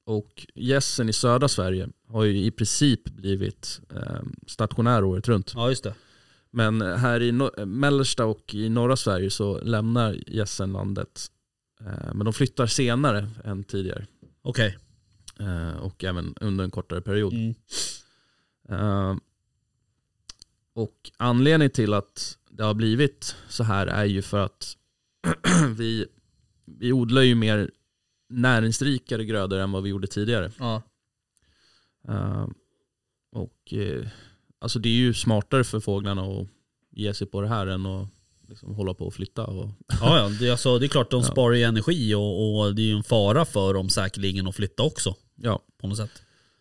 Speaker 4: och gässen i södra Sverige har ju i princip blivit eh, stationär året runt.
Speaker 3: ja, just det.
Speaker 4: Men här i no- mellersta och i norra Sverige så lämnar gässen landet. Eh, Men de flyttar senare än tidigare
Speaker 3: Okej.
Speaker 4: eh, och även under en kortare period.
Speaker 3: Mm.
Speaker 4: Eh, Och anledningen till att det har blivit så här är ju för att (clears throat) vi, vi odlar ju mer näringsrikare grödor än vad vi gjorde tidigare.
Speaker 3: Ja.
Speaker 4: Eh, och eh, alltså det är ju smartare för fåglarna att ge sig på det här än att liksom hålla på och flytta. Och,
Speaker 3: Ja, ja. Det, är alltså, det är klart de
Speaker 4: Ja.
Speaker 3: sparar ju energi och, och det är ju en fara för dem säkerligen att flytta också.
Speaker 4: ja.
Speaker 3: På något sätt.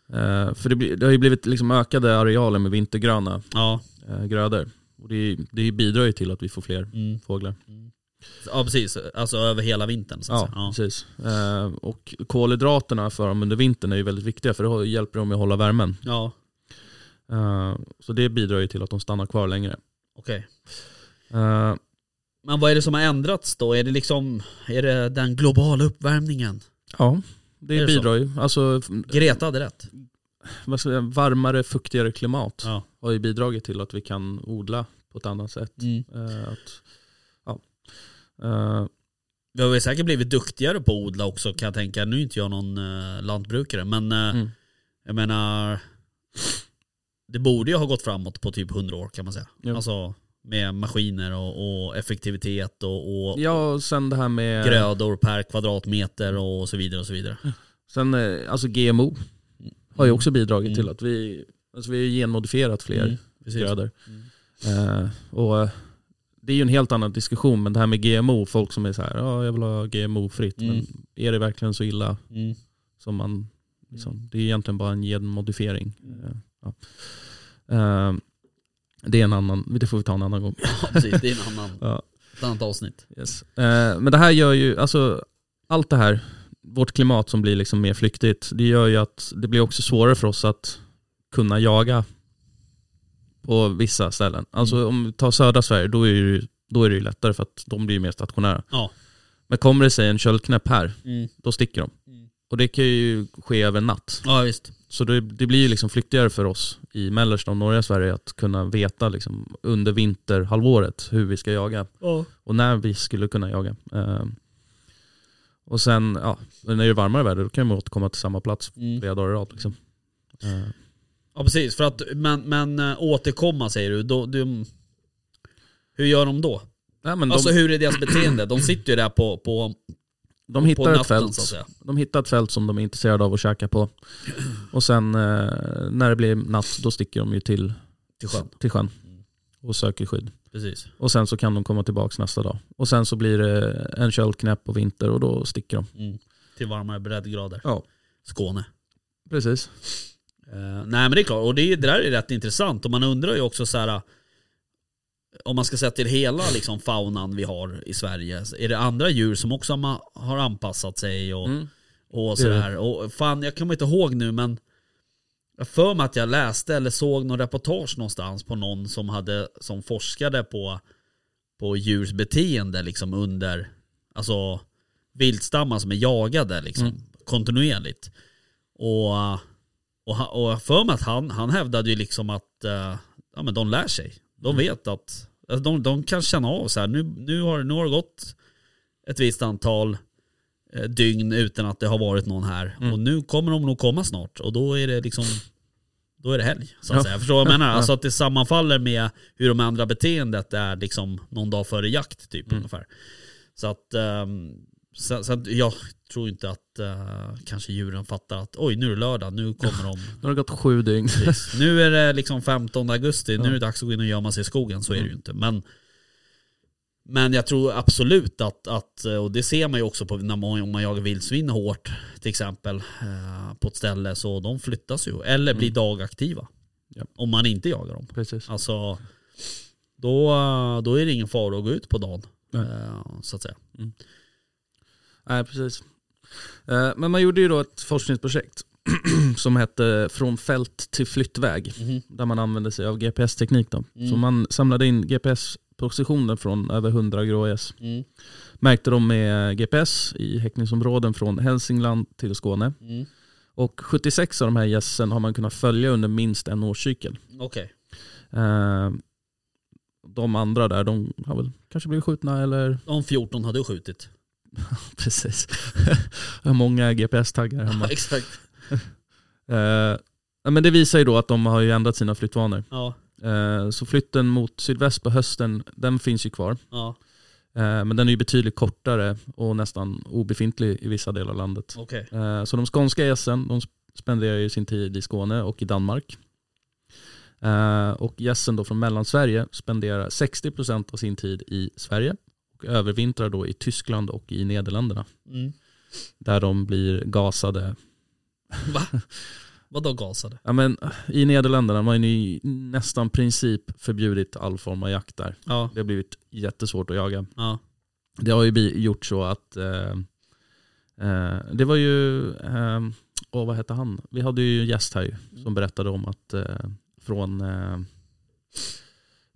Speaker 4: Eh, för det, blir- det har ju blivit liksom ökade arealer med vintergröna
Speaker 3: Ja,
Speaker 4: eh, grödor. Och det, det bidrar ju till att vi får fler
Speaker 3: mm.
Speaker 4: fåglar.
Speaker 3: ja precis. Alltså över hela vintern. Så att
Speaker 4: Ja,
Speaker 3: säga. ja.
Speaker 4: precis. Eh, och kolhydraterna för dem under vintern är ju väldigt viktiga för det har- hjälper dem att hålla värmen.
Speaker 3: ja.
Speaker 4: Eh, så det bidrar ju till att de stannar kvar längre.
Speaker 3: okej.
Speaker 4: Eh,
Speaker 3: Men vad är det som har ändrats då? Är det liksom, är det den globala uppvärmningen?
Speaker 4: ja, det,
Speaker 3: Är det så?
Speaker 4: bidrar ju. Alltså f-
Speaker 3: Greta hade rätt.
Speaker 4: vad ska jag säga, varmare, fuktigare klimat
Speaker 3: Ja.
Speaker 4: har ju bidragit till att vi kan odla på ett annat sätt.
Speaker 3: Mm.
Speaker 4: Eh, att, ja. Eh,
Speaker 3: Vi har väl säkert blivit duktigare på att odla också kan jag tänka. Nu är inte jag någon eh, lantbrukare men eh,
Speaker 4: Mm.
Speaker 3: jag menar det borde ju ha gått framåt på typ 100 år kan man säga.
Speaker 4: Jo.
Speaker 3: Alltså med maskiner och, och effektivitet och, och
Speaker 4: ja, och sen det här med
Speaker 3: grödor per kvadratmeter och så vidare och så vidare.
Speaker 4: sen, eh, alltså GMO har ju också bidragit
Speaker 3: Mm.
Speaker 4: till att vi, alltså vi har ju genmodifierat fler
Speaker 3: Mm, precis.
Speaker 4: grödor.
Speaker 3: Mm.
Speaker 4: Eh, och eh, det är ju en helt annan diskussion, men det här med GMO, folk som är så här, ja jag vill ha GMO-fritt,
Speaker 3: Mm.
Speaker 4: men är det verkligen så illa
Speaker 3: Mm.
Speaker 4: som man Liksom. Det är egentligen bara en genmodifiering. Eh, Ja. Eh, Det är en annan, det får vi ta en annan gång.
Speaker 3: (laughs) Ja, precis. Det är en annan,
Speaker 4: Ja.
Speaker 3: ett annat avsnitt.
Speaker 4: Yes. Eh, men det här gör ju, alltså allt det här, vårt klimat som blir liksom mer flyktigt, det gör ju att det blir också svårare för oss att kunna jaga på vissa ställen. Alltså
Speaker 3: Mm.
Speaker 4: om vi tar södra Sverige, då är, det ju, då är det ju lättare för att de blir ju mer stationära.
Speaker 3: Ja.
Speaker 4: Men kommer det sig en köldknäpp här,
Speaker 3: Mm.
Speaker 4: då sticker de.
Speaker 3: Mm.
Speaker 4: Och det kan ju ske över en natt.
Speaker 3: Ja visst.
Speaker 4: Så det, det blir ju liksom flyktigare för oss i mellersta och norra Sverige att kunna veta liksom under vinterhalvåret hur vi ska jaga
Speaker 3: Ja.
Speaker 4: och när vi skulle kunna jaga. Ehm, och sen, ja, när det är varmare väder då kan man återkomma till samma plats
Speaker 3: Mm.
Speaker 4: flera dagar i rad. Liksom. Ehm,
Speaker 3: ja precis, för att, men, men eh, återkomma säger du. Då, du hur gör de då?
Speaker 4: nej, men
Speaker 3: Alltså
Speaker 4: de,
Speaker 3: hur är deras beteende? De sitter ju där på, på,
Speaker 4: de,
Speaker 3: på
Speaker 4: hittar
Speaker 3: natten
Speaker 4: ett
Speaker 3: så att
Speaker 4: fält,
Speaker 3: säga.
Speaker 4: de hittar ett fält som de är intresserade av att käka på. Och sen eh, när det blir natt då sticker de ju till,
Speaker 3: Till sjön.
Speaker 4: till sjön och söker skydd.
Speaker 3: Precis.
Speaker 4: Och sen så kan de komma tillbaka nästa dag. Och sen så blir det en köldknäpp på vinter och då sticker de.
Speaker 3: Mm. Till varmare breddgrader.
Speaker 4: Ja,
Speaker 3: Skåne.
Speaker 4: precis.
Speaker 3: Eh, nej men det är klart, och det, är- det där är rätt intressant och man undrar ju också så här eh, om man ska säga till hela liksom, faunan vi har i Sverige, är det andra djur som också ma- har anpassat sig och,
Speaker 4: Mm.
Speaker 3: och
Speaker 4: Det är det.
Speaker 3: sådär? Och fan, jag kommer inte ihåg nu men jag för mig att jag läste eller såg någon reportage någonstans på någon som, hade, som forskade på, på djurs beteende liksom under, alltså viltstammar som är jagade liksom, kontinuerligt. Och, och, ha- och jag för mig att han, han hävdade ju liksom att eh, ja, men de lär sig.
Speaker 4: Mm.
Speaker 3: De vet att alltså de, de kan känna av så här, nu, nu, har, nu har det gått ett visst antal eh, dygn utan att det har varit någon här.
Speaker 4: Mm.
Speaker 3: Och nu kommer de nog komma snart och då är det liksom då är det helg. Så att
Speaker 4: Ja.
Speaker 3: säga. Förstår du vad jag menar?
Speaker 4: Ja.
Speaker 3: Alltså att det sammanfaller med hur de andra beteendet är liksom någon dag före jakt typ
Speaker 4: Mm.
Speaker 3: ungefär. Så att, ehm, så, så att jag tror inte att eh, kanske djuren fattar att oj nu är det lördag, nu kommer de.
Speaker 4: Nu har det gått sju dygn.
Speaker 3: Precis. (laughs) Nu är det liksom 15 augusti, nu är det dags att gå in och gömma sig i skogen, så är det
Speaker 4: Mm.
Speaker 3: ju inte. Men, men jag tror absolut att, att, eh, och det ser man ju också på när man, om man jagar vildsvin hårt till exempel eh, på ett ställe, så de flyttas ju. Eller blir dagaktiva.
Speaker 4: Mm. Ja.
Speaker 3: Om man inte jagar dem.
Speaker 4: Precis.
Speaker 3: Alltså, då, då är det ingen fara att gå ut på dagen.
Speaker 4: Nej.
Speaker 3: Eh, så att säga.
Speaker 4: Nej, precis. Eh, Men man gjorde ju då ett forskningsprojekt (clears throat) som hette Från fält till flyttväg. Där man använde sig av GPS-teknik. Då. Så man samlade in GPS-positionen från över 100 grågäss.
Speaker 3: Mm.
Speaker 4: Märkte dem med GPS i häckningsområden från Hälsingland till Skåne.
Speaker 3: Mm.
Speaker 4: Och 76 av de här gässen har man kunnat följa under minst en årscykel.
Speaker 3: Okej.
Speaker 4: Eh, De andra där, de har väl kanske blivit skjutna eller (laughs)
Speaker 3: De 14 hade du skjutit.
Speaker 4: Precis. (laughs) Jag har många GPS-taggar hemma.
Speaker 3: (laughs) Exakt.
Speaker 4: Eh, ja, men det visar ju då att de har ju ändrat sina flyttvanor.
Speaker 3: Ja,
Speaker 4: Eh, så flytten mot sydväst på hösten, den finns ju kvar.
Speaker 3: ja.
Speaker 4: Eh, men den är ju betydligt kortare och nästan obefintlig i vissa delar av landet.
Speaker 3: okej.
Speaker 4: Eh, så de skånska gässen, de spenderar ju sin tid i Skåne och i Danmark. Eh, och gässen då från Mellansverige spenderar 60% av sin tid i Sverige och övervintrar då i Tyskland och i Nederländerna.
Speaker 3: Mm.
Speaker 4: Där de blir gasade.
Speaker 3: Vadå gasade?
Speaker 4: Ja, men, I Nederländerna har man ju nästan princip förbjudit all form av jakt där.
Speaker 3: Ja,
Speaker 4: Det har blivit jättesvårt att jaga.
Speaker 3: ja.
Speaker 4: Det har ju bli- gjort så att eh, eh, det var ju, eh, åh, vad hette han? Vi hade ju en gäst här ju, som berättade om att eh, från, eh,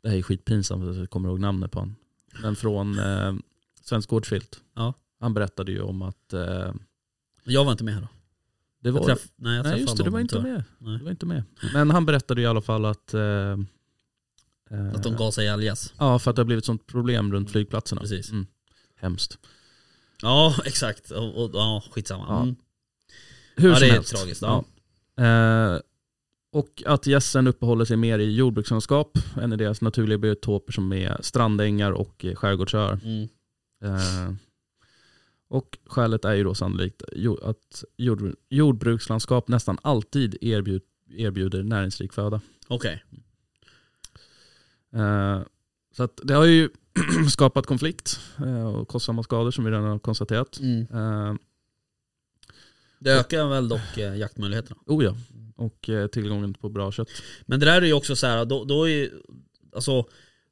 Speaker 4: det här är skitpinsamt att jag kommer ihåg namnet på honom, men från eh, Svensk Gårdsfilt.
Speaker 3: Ja.
Speaker 4: Han berättade ju om att eh,
Speaker 3: Jag var inte med här då.
Speaker 4: det var,
Speaker 3: Jag träff, nej, jag
Speaker 4: nej
Speaker 3: träffade
Speaker 4: just det, du var
Speaker 3: honom
Speaker 4: inte
Speaker 3: tyvärr.
Speaker 4: med.
Speaker 3: Nej. Mm.
Speaker 4: Du var inte med. Men han berättade ju i alla fall att eh, eh,
Speaker 3: Att de gasade ihjäl gäss.
Speaker 4: Ja, för att det har blivit sånt problem runt flygplatserna.
Speaker 3: Precis.
Speaker 4: Mm. Hemskt.
Speaker 3: Ja, exakt. Och, och, ja, skitsamma.
Speaker 4: Ja.
Speaker 3: Mm.
Speaker 4: Hur
Speaker 3: Ja,
Speaker 4: som
Speaker 3: det är
Speaker 4: helst.
Speaker 3: tragiskt,
Speaker 4: Ja. Eh, och att gässen uppehåller sig mer i jordbrukslandskap än i deras naturliga biotoper som är strandängar och eh, skärgårdsöar.
Speaker 3: Mm.
Speaker 4: Eh, och skälet är ju då sannolikt jo- att jord, jordbrukslandskap nästan alltid erbjud, erbjuder näringsrik föda.
Speaker 3: Okej.
Speaker 4: Eh, så att det har ju (clears throat) skapat Mm. Eh, konflikt eh, och kostsamma skador som vi redan har konstaterat.
Speaker 3: Mm.
Speaker 4: Eh,
Speaker 3: Det ökar väl dock eh, jaktmöjligheterna.
Speaker 4: Oh ja. Och eh, tillgången på bra kött.
Speaker 3: Men det där är ju också så här, då, då är ju- alltså,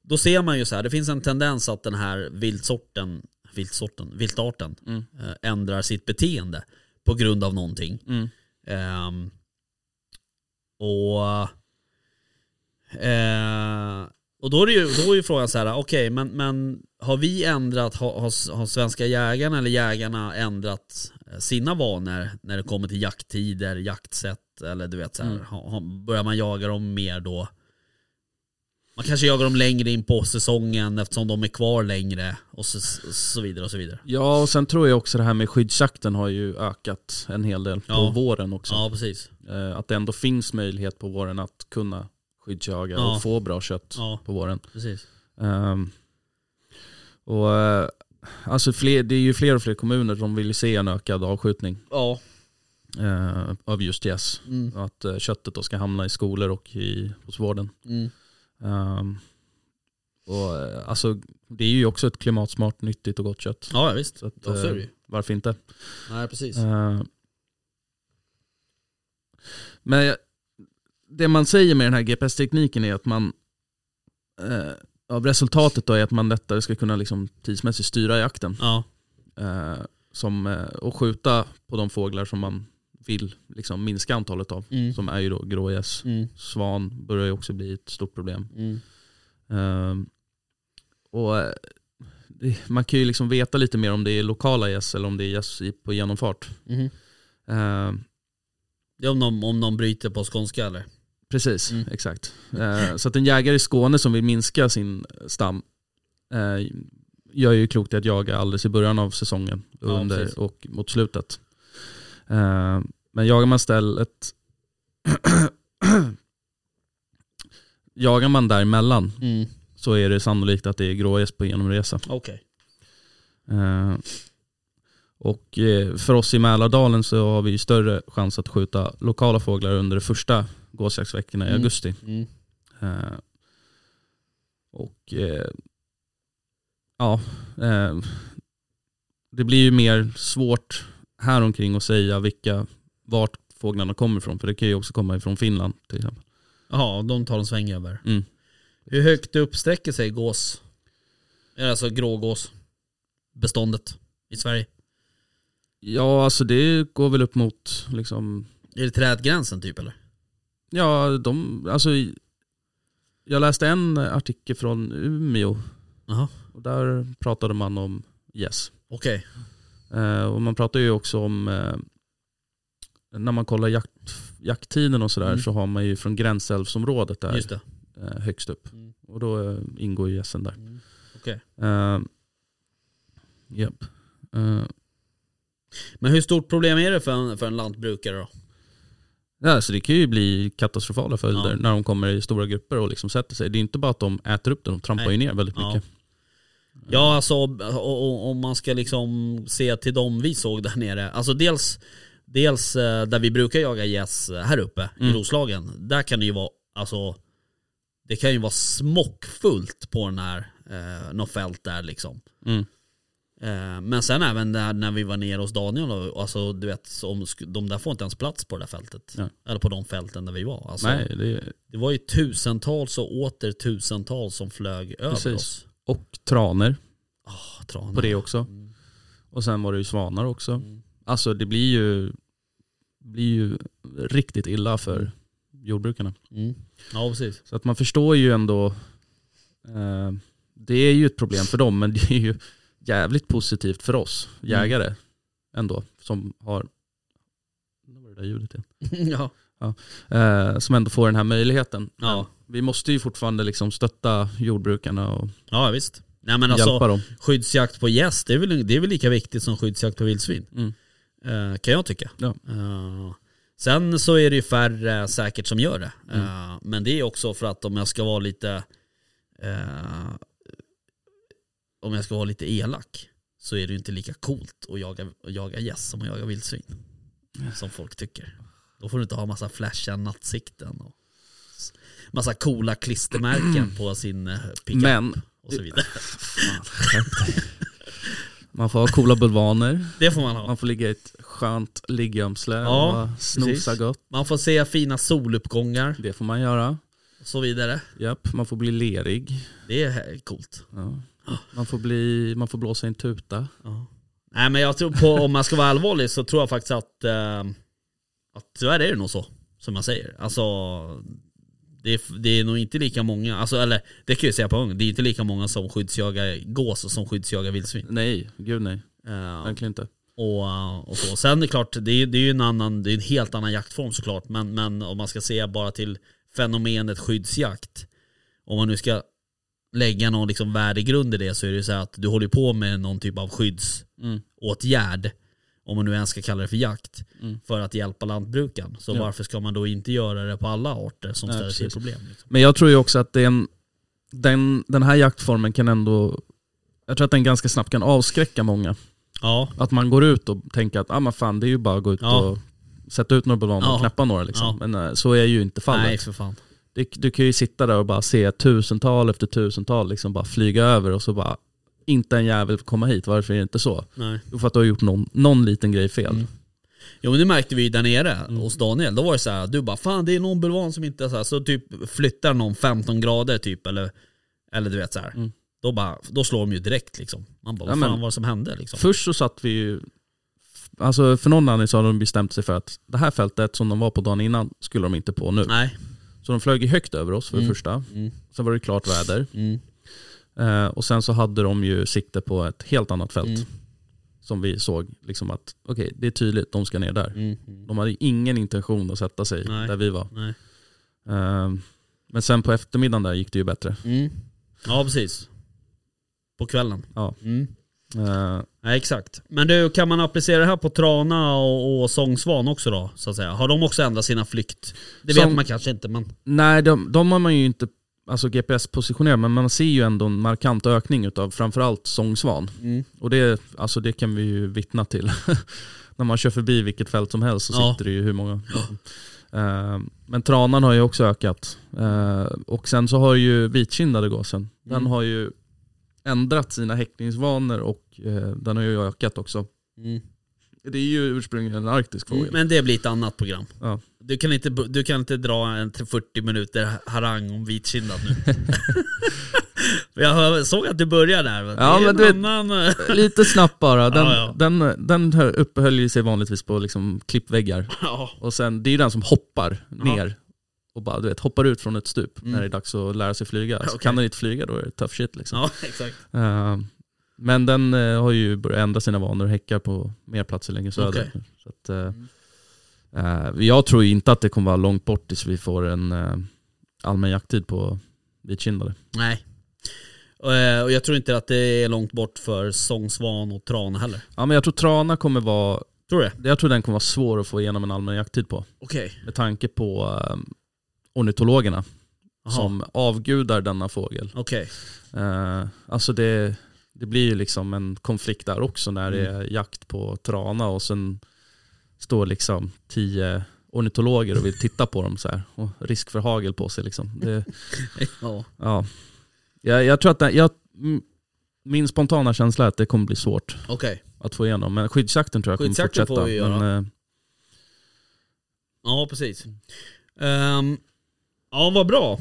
Speaker 3: då ser man ju så här, det finns en tendens att den här viltsorten, viltsorten, viltarten
Speaker 4: Mm.
Speaker 3: eh, ändrar sitt beteende på grund av någonting.
Speaker 4: Mm.
Speaker 3: Ehm, och, eh, och då är, det ju, då är ju frågan så här, okej men, men har vi ändrat, har, har, har svenska jägarna eller jägarna ändrat eh, sina vanor när det kommer till jakttider, jaktsätt eller du vet så här,
Speaker 4: Mm.
Speaker 3: har, har, börjar man jaga dem mer då? Man kanske jagar dem längre in på säsongen eftersom de är kvar längre och så, så vidare och så vidare.
Speaker 4: Ja, och sen tror jag också det här med skyddsjakten har ju ökat en hel del
Speaker 3: Ja.
Speaker 4: på våren också.
Speaker 3: Ja precis.
Speaker 4: Eh, Att det ändå finns möjlighet på våren att kunna skyddsjaga
Speaker 3: Ja.
Speaker 4: och få bra kött
Speaker 3: Ja,
Speaker 4: på våren.
Speaker 3: precis.
Speaker 4: Ehm, och, eh, alltså fler, det är ju fler och fler kommuner som vill se en ökad avskjutning
Speaker 3: Ja.
Speaker 4: eh, av just gäss.
Speaker 3: Mm.
Speaker 4: Och Att eh, köttet då ska hamna i skolor och i, hos vården.
Speaker 3: Mm.
Speaker 4: Ehm, och, eh, alltså, det är ju också ett klimatsmart, nyttigt och gott kött.
Speaker 3: Ja, ja visst.
Speaker 4: Så att,
Speaker 3: Ja, så är det
Speaker 4: eh,
Speaker 3: ju.
Speaker 4: varför inte?
Speaker 3: Nej precis.
Speaker 4: Eh, Men jag- det man säger med den här GPS-tekniken är att man eh, av resultatet då är att man lättare ska kunna liksom tidsmässigt styra jakten
Speaker 3: Ja.
Speaker 4: eh, som, eh, och skjuta på de fåglar som man vill liksom minska antalet av.
Speaker 3: Mm.
Speaker 4: Som är ju då grågäss.
Speaker 3: Mm.
Speaker 4: Svan börjar ju också bli ett stort problem.
Speaker 3: Mm.
Speaker 4: Ehm, och eh, det, man kan ju liksom veta lite mer om det är lokala gäss eller om det är gäss i- på genomfart.
Speaker 3: Mhm.
Speaker 4: Ehm,
Speaker 3: Det är om de, om de bryter på skånska eller?
Speaker 4: Precis,
Speaker 3: Mm.
Speaker 4: exakt. Eh, så att en jägare i Skåne som vill minska sin stam eh, gör ju klokt i att jaga alldeles i början av säsongen och
Speaker 3: Ja, precis.
Speaker 4: under och mot slutet. Eh, men jagar man stället (clears throat) Jagar man däremellan
Speaker 3: Mm.
Speaker 4: så är det sannolikt att det är grågäss på genomresa.
Speaker 3: Okej.
Speaker 4: Eh, och eh, för oss i Mälardalen så har vi ju större chans att skjuta lokala fåglar under de första gåsjaktsveckorna i
Speaker 3: Mm.
Speaker 4: augusti.
Speaker 3: Mm.
Speaker 4: Eh, och eh, ja, eh, det blir ju mer svårt här omkring att säga vilka, vart fåglarna kommer ifrån. För det kan ju också komma ifrån Finland till exempel.
Speaker 3: Jaha, de tar en sväng över.
Speaker 4: Mm.
Speaker 3: Hur högt upp sträcker sig gås? Eller Alltså grågås. Beståndet i Sverige.
Speaker 4: Ja, alltså det går väl upp mot liksom,
Speaker 3: Är det trädgränsen typ eller?
Speaker 4: ja de, alltså i- jag läste en artikel från Umeå
Speaker 3: Jaha.
Speaker 4: och där pratade man om gäss.
Speaker 3: Okej.
Speaker 4: Eh, och man pratar ju också om, eh, när man kollar jakt, jakttiden och sådär
Speaker 3: Mm.
Speaker 4: så har man ju från gränsälvsområdet där
Speaker 3: Just det.
Speaker 4: eh, högst upp.
Speaker 3: Mm.
Speaker 4: Och då eh, ingår ju gässen där.
Speaker 3: Mm. Okej.
Speaker 4: Eh, japp. Eh,
Speaker 3: Men hur stort problem är det för en, för en lantbrukare då?
Speaker 4: ja, så det kan ju bli katastrofala följder
Speaker 3: Ja.
Speaker 4: när de kommer i stora grupper och liksom sätter sig. Det är inte bara att de äter upp det, de trampar
Speaker 3: Nej.
Speaker 4: ju ner väldigt
Speaker 3: Ja.
Speaker 4: mycket.
Speaker 3: Ja alltså och, och, om man ska liksom se till dem vi såg där nere. Alltså dels, dels eh, där vi brukar jaga gäss eh, här uppe i
Speaker 4: Mm.
Speaker 3: Roslagen. Där kan det ju vara, alltså det kan ju vara smockfullt på den här, eh, något fält där liksom.
Speaker 4: Mm.
Speaker 3: Eh, men sen även där när vi var nere hos Daniel, och, alltså du vet, så om, sk- de där får inte ens plats på det där fältet.
Speaker 4: Nej.
Speaker 3: Eller på de fälten där vi var. Alltså,
Speaker 4: Nej, det är,
Speaker 3: Det var ju tusentals och åter tusentals som flög över
Speaker 4: Precis.
Speaker 3: oss.
Speaker 4: och traner
Speaker 3: Ah, tranar.
Speaker 4: på det också.
Speaker 3: Mm.
Speaker 4: Och sen var det ju svanar också.
Speaker 3: Mm.
Speaker 4: Alltså det blir ju, blir ju riktigt illa för jordbrukarna.
Speaker 3: Mm. Ja
Speaker 4: (laughs)
Speaker 3: precis.
Speaker 4: Så att man förstår ju ändå, eh, det är ju ett problem för dem men det är ju jävligt positivt för oss jägare
Speaker 3: Mm.
Speaker 4: ändå som har, vad var det där ljudet igen?
Speaker 3: ja.
Speaker 4: Eh, som ändå får den här möjligheten.
Speaker 3: Ja.
Speaker 4: Men Vi måste ju fortfarande liksom stötta jordbrukarna och
Speaker 3: ja visst. Nej men alltså
Speaker 4: hjälpa dem.
Speaker 3: skyddsjakt på gäss det är, väl, det är väl lika viktigt som skyddsjakt på vildsvin.
Speaker 4: Mm.
Speaker 3: Eh, kan jag tycka.
Speaker 4: Ja.
Speaker 3: Eh, sen så är det ju färre säkert som gör det. Eh, men det är också för att om jag ska vara lite eh, om jag ska vara lite elak så är det ju inte lika coolt att jaga, att jaga gäss som att jaga vildsvin. Som folk tycker. Då får du inte ha massa flashiga nattsikten och s- massa coola klistermärken på sin eh, pickup
Speaker 4: Men
Speaker 3: och så vidare.
Speaker 4: Man får ha coola bulvaner,
Speaker 3: Det får man ha.
Speaker 4: man får ligga i ett skönt liggömsle
Speaker 3: Ja,
Speaker 4: och snosa
Speaker 3: precis.
Speaker 4: gott.
Speaker 3: Man får se fina soluppgångar
Speaker 4: Det får man göra.
Speaker 3: och så vidare.
Speaker 4: Japp, man får bli lerig.
Speaker 3: Det är coolt.
Speaker 4: Ja. Man, får bli, man får blåsa i en tuta.
Speaker 3: Nej men jag tror på, om man ska vara allvarlig så tror jag faktiskt att, eh, att tyvärr är det nog så. Som jag säger. Alltså, det är, det är nog inte lika många, alltså, eller det kan jag ju säga på gång, det är inte lika många som skyddsjagar gås som skyddsjagar vildsvin.
Speaker 4: Nej, gud nej.
Speaker 3: Eh,
Speaker 4: Verkligen inte.
Speaker 3: och, och så. Sen är det klart, det är, det är ju en, annan, det är en helt annan jaktform såklart. Men, men om man ska se bara till fenomenet skyddsjakt. Om man nu ska lägga någon liksom värdegrund i det så är det ju så här att du håller på med någon typ av
Speaker 4: Mm.
Speaker 3: skyddsåtgärd. Om man nu ens ska kalla det för jakt. För att hjälpa lantbrukaren. Så
Speaker 4: Mm. Ja.
Speaker 3: varför ska man då inte göra det på alla arter som
Speaker 4: Nej,
Speaker 3: ställer till
Speaker 4: precis.
Speaker 3: problem? Liksom?
Speaker 4: Men jag tror ju också att det är en, den, den här jaktformen kan ändå, jag tror att den ganska snabbt kan avskräcka många.
Speaker 3: Ja,
Speaker 4: Att man går ut och tänker att ah, men fan, det är ju bara att gå ut
Speaker 3: Ja.
Speaker 4: och sätta ut några bulvaner
Speaker 3: Ja.
Speaker 4: och knäppa några. Liksom.
Speaker 3: Ja.
Speaker 4: Men eh, så är ju inte fallet.
Speaker 3: nej för fan.
Speaker 4: Du, du kan ju sitta där och bara se tusental efter tusental liksom bara flyga över och så bara inte en jävel får komma hit, varför är det inte så?
Speaker 3: Nej.
Speaker 4: Jo för att du har gjort någon, någon liten grej fel.
Speaker 3: Mm, Jo men det märkte vi ju där nere hos Daniel, då var det så här, du bara fan det är någon bulvan som inte är så här. så typ flyttar någon 15 grader typ eller, eller du vet så här. Då, bara, då slår de ju direkt liksom. Man bara, vad
Speaker 4: Ja,
Speaker 3: fan
Speaker 4: men-
Speaker 3: var det som hände liksom?
Speaker 4: Först så satt vi ju, alltså för någon anledning så hade de bestämt sig för att det här fältet som de var på dagen innan skulle de inte på nu.
Speaker 3: Nej.
Speaker 4: Så de flög ju högt över oss för det första.
Speaker 3: Mm.
Speaker 4: Sen var det klart väder.
Speaker 3: Mm.
Speaker 4: Eh, och sen så hade de ju sikte på ett helt annat fält.
Speaker 3: Mm.
Speaker 4: Som vi såg liksom att, okej det är tydligt, de ska ner där.
Speaker 3: Mm. Mm.
Speaker 4: De hade ju ingen intention att sätta sig
Speaker 3: Nej.
Speaker 4: där vi var.
Speaker 3: Nej.
Speaker 4: Eh, men sen på eftermiddagen där gick det ju bättre.
Speaker 3: Mm. Ja precis. På kvällen.
Speaker 4: Ja.
Speaker 3: Mm.
Speaker 4: Eh,
Speaker 3: Nej exakt. Men du, kan man applicera det här på Trana och, och Sångsvan också då? Så att säga? Har de också ändrat sina flykt? Det vet
Speaker 4: Sång-
Speaker 3: man kanske inte men...
Speaker 4: nej, de, de har man ju inte alltså GPS-positionerat, men man ser ju ändå en markant ökning utav framförallt sångsvan.
Speaker 3: Mm.
Speaker 4: Och det, alltså det kan vi ju vittna till. (laughs) När man kör förbi vilket fält som helst så
Speaker 3: Ja.
Speaker 4: sitter det ju hur många. Eh, men tranan har ju också ökat. Eh, och sen så har ju vitkindade gåsen, den
Speaker 3: Mm.
Speaker 4: har ju ändrat sina häckningsvanor och eh, den har ju ökat också.
Speaker 3: Mm.
Speaker 4: Det är ju ursprungligen en arktisk fågel.
Speaker 3: Men det blir ett annat program.
Speaker 4: Ja.
Speaker 3: Du, kan inte, du kan inte dra en till 40 minuter harang om vitkindad
Speaker 4: (laughs)
Speaker 3: nu. För jag hör, såg att du började där. men
Speaker 4: Ja,
Speaker 3: det är
Speaker 4: men du vet-
Speaker 3: en annan... eh,
Speaker 4: Lite snabbt bara. Den,
Speaker 3: Ja, ja.
Speaker 4: den, den hö- uppehöll ju sig vanligtvis på liksom klippväggar.
Speaker 3: (laughs) ja.
Speaker 4: Och sen, det är ju den som hoppar ner och bara du vet, hoppar ut från ett stup
Speaker 3: Mm.
Speaker 4: när det är dags att lära sig flyga. Så
Speaker 3: Okej.
Speaker 4: kan den inte flyga då är det tough shit liksom.
Speaker 3: ja, exakt.
Speaker 4: Eh, men den eh, har ju börjat ändra sina vanor och häckar på mer platser längre söderut. nu. Så att, eh,
Speaker 3: Mm.
Speaker 4: eh, jag tror ju inte att det kommer vara långt bort tills vi får en eh, allmän jakttid på vitkindade.
Speaker 3: Nej. Eh, Och jag tror inte att det är långt bort för sångsvan och tran heller.
Speaker 4: Ja, men jag tror trana kommer vara,
Speaker 3: Tror du det?
Speaker 4: jag tror den kommer vara svår att få igenom en allmän jakttid på.
Speaker 3: Okej.
Speaker 4: Med tanke på eh, ornitologerna
Speaker 3: Jaha.
Speaker 4: som avgudar denna fågel.
Speaker 3: Okej. (laughs)
Speaker 4: Eh, alltså det, det blir ju liksom en konflikt där också när det
Speaker 3: Mm.
Speaker 4: är jakt på trana och sen står liksom tio ornitologer och vill titta på dem så här. Och risk för hagel på sig liksom.
Speaker 3: (laughs)
Speaker 4: Det,
Speaker 3: Ja.
Speaker 4: ja. jag, jag tror att det, jag, mm, min spontana känsla är att det kommer bli svårt
Speaker 3: Okej.
Speaker 4: att få igenom. Men skyddsjakten tror jag kommer
Speaker 3: Skyddsjakten
Speaker 4: fortsätta.
Speaker 3: får vi göra.
Speaker 4: men, eh,
Speaker 3: Ja, precis. Ehm, ja, vad bra.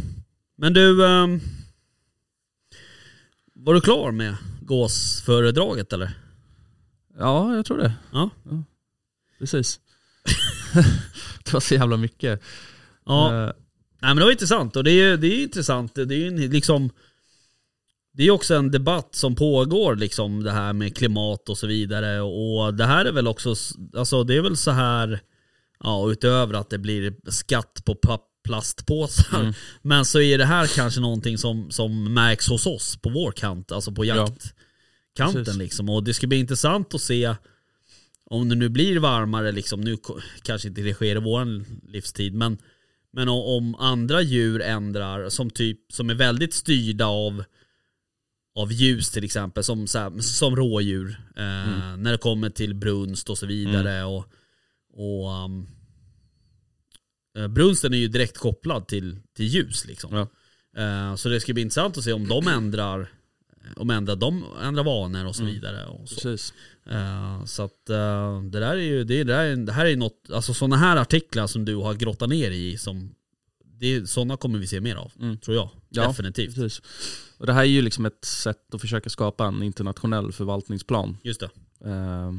Speaker 3: Men du, ehm, var du klar med gåsföredraget eller?
Speaker 4: Ja, jag tror det.
Speaker 3: Ja. (laughs)
Speaker 4: Precis. det var så jävla mycket.
Speaker 3: Ja,
Speaker 4: Eh,
Speaker 3: nej, men det var intressant och det är, det är intressant. Det är ju en, liksom det är också en debatt som pågår liksom det här med klimat och så vidare och det här är väl också, s- alltså det är väl så här, ja utöver att det blir skatt på pa- plastpåsar,
Speaker 4: Mm.
Speaker 3: men så är det här kanske någonting som, som märks hos oss på vår kant, alltså på
Speaker 4: Ja.
Speaker 3: jaktkanten
Speaker 4: Precis.
Speaker 3: liksom och det ska bli intressant att se om det nu blir varmare, liksom, nu ko- kanske inte det sker i vår livstid, men, men o- om andra djur ändrar, som, typ, som är väldigt styrda av, av ljus till exempel, som, så här, som rådjur, eh,
Speaker 4: Mm.
Speaker 3: när det kommer till brunst och så vidare. Och, och, um, eh, brunsten är ju direkt kopplad till, till ljus. Liksom.
Speaker 4: Ja.
Speaker 3: Eh, så det ska bli intressant att se om de ändrar om ändra, dem, ändra vanor och så
Speaker 4: Mm.
Speaker 3: vidare. Och så.
Speaker 4: Precis.
Speaker 3: Eh, så att eh, det där är ju, det, är- det, där är, det här är något, alltså sådana här artiklar som du har grottat ner i, som, det, sådana kommer vi se mer av,
Speaker 4: Mm.
Speaker 3: tror jag.
Speaker 4: Ja.
Speaker 3: Definitivt.
Speaker 4: Precis. Och det här är ju liksom ett sätt att försöka skapa en internationell förvaltningsplan.
Speaker 3: Just det.
Speaker 4: Eh,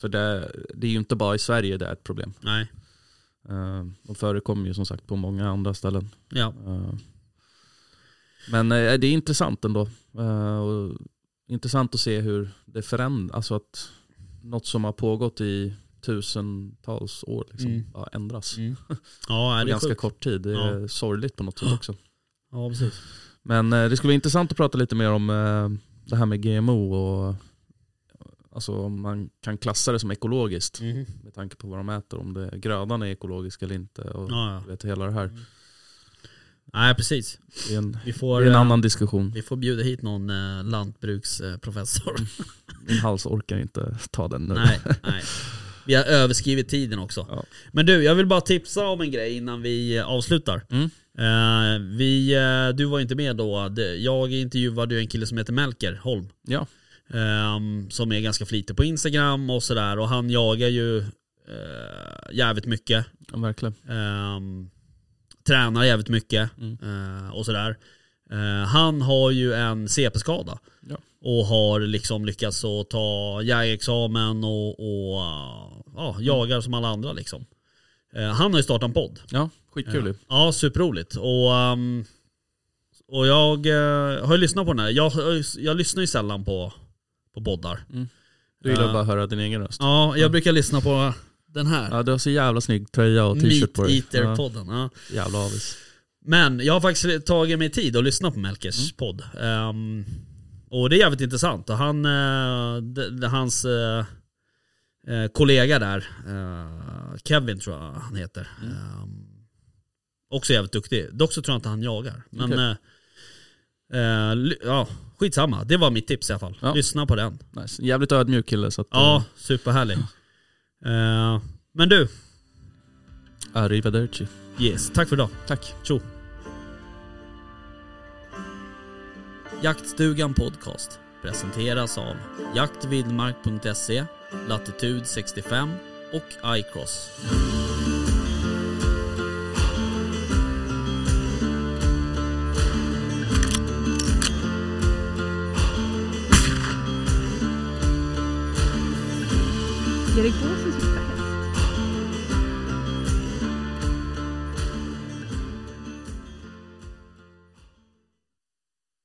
Speaker 4: för det, det är ju inte bara i Sverige det är ett problem.
Speaker 3: Nej.
Speaker 4: Eh, och förekommer ju som sagt på många andra ställen.
Speaker 3: Ja.
Speaker 4: Eh, Men eh, det är intressant ändå. Eh, och Intressant att se hur det förändras. Alltså att något som har pågått i tusentals år liksom,
Speaker 3: Mm.
Speaker 4: bara ändras.
Speaker 3: (laughs) Mm. Ja, är
Speaker 4: På
Speaker 3: det är
Speaker 4: ganska
Speaker 3: sjukt.
Speaker 4: kort tid. Det är sorgligt på något sätt också.
Speaker 3: Ja, precis.
Speaker 4: Men eh, det skulle vara intressant att prata lite mer om eh, det här med GMO och alltså om man kan klassa det som ekologiskt
Speaker 3: Mhm.
Speaker 4: med tanke på vad de äter. Om det, grödan är ekologisk eller inte. Och
Speaker 3: Ja, Mm. ja.
Speaker 4: du vet, hela det här.
Speaker 3: Nej, precis.
Speaker 4: Det är en,
Speaker 3: Vi
Speaker 4: det
Speaker 3: får,
Speaker 4: är en
Speaker 3: eh,
Speaker 4: annan diskussion.
Speaker 3: vi får bjuda hit någon eh, lantbruksprofessor.
Speaker 4: Min hals orkar inte ta den
Speaker 3: (laughs)
Speaker 4: nu.
Speaker 3: nej, nej. Vi har överskridit tiden också.
Speaker 4: Ja.
Speaker 3: Men du, jag vill bara tipsa om en grej innan vi eh, avslutar.
Speaker 4: Mm.
Speaker 3: Eh, vi, eh, du var inte med då. Det- Jag intervjuade ju en kille som heter Melker Holm.
Speaker 4: Ja.
Speaker 3: Ehm, som är ganska flitig på Instagram och sådär. Och han jagar ju eh, jävligt mycket.
Speaker 4: ja, verkligen.
Speaker 3: Ehm, tränar jävligt mycket
Speaker 4: Mm.
Speaker 3: eh, och sådär. Eh, han har ju en CP-skada.
Speaker 4: Ja.
Speaker 3: Och har liksom lyckats att ta jägarexamen och, och eh,
Speaker 4: Mm.
Speaker 3: ja, jagar som alla andra liksom. Eh, han har ju startat en podd.
Speaker 4: Ja, skitkul ju.
Speaker 3: Ja, superroligt. Och, ehm, och jag eh, har ju lyssnat på den här. Jag, jag lyssnar ju sällan på, på poddar.
Speaker 4: Mm. Du gillar
Speaker 3: Ja.
Speaker 4: bara att höra din egen röst.
Speaker 3: Ja, jag brukar lyssna på den här.
Speaker 4: Ja, du har så jävla snygg tröja och t-shirt
Speaker 3: Meat
Speaker 4: på dig. Ja,
Speaker 3: Eater-podden. Ja.
Speaker 4: jävla avis.
Speaker 3: Men jag har faktiskt tagit mig tid att lyssna på Melkers
Speaker 4: Mm.
Speaker 3: podd. Ehm, och det är jävligt intressant. Och han, eh, d- d- hans eh, eh, kollega där, eh, Kevin tror jag han heter.
Speaker 4: Mm.
Speaker 3: Ehm, också jävligt duktig. Dock så tror jag inte han jagar. Men
Speaker 4: Okej.
Speaker 3: eh, eh, ly- ja, skitsamma. Det var mitt tips i alla fall.
Speaker 4: Ja. Mm.
Speaker 3: Lyssna på den.
Speaker 4: Nice. Jävligt ödmjuk kille så att
Speaker 3: Ja, superhärlig. Eh, men du,
Speaker 4: eh, arrivederci.
Speaker 3: yes. Tack för idag.
Speaker 4: Tack.
Speaker 3: Tjo! Jaktstugan Podcast presenteras av jaktvildmark.se, Latitude 65 och iCross.
Speaker 2: Erik Båsen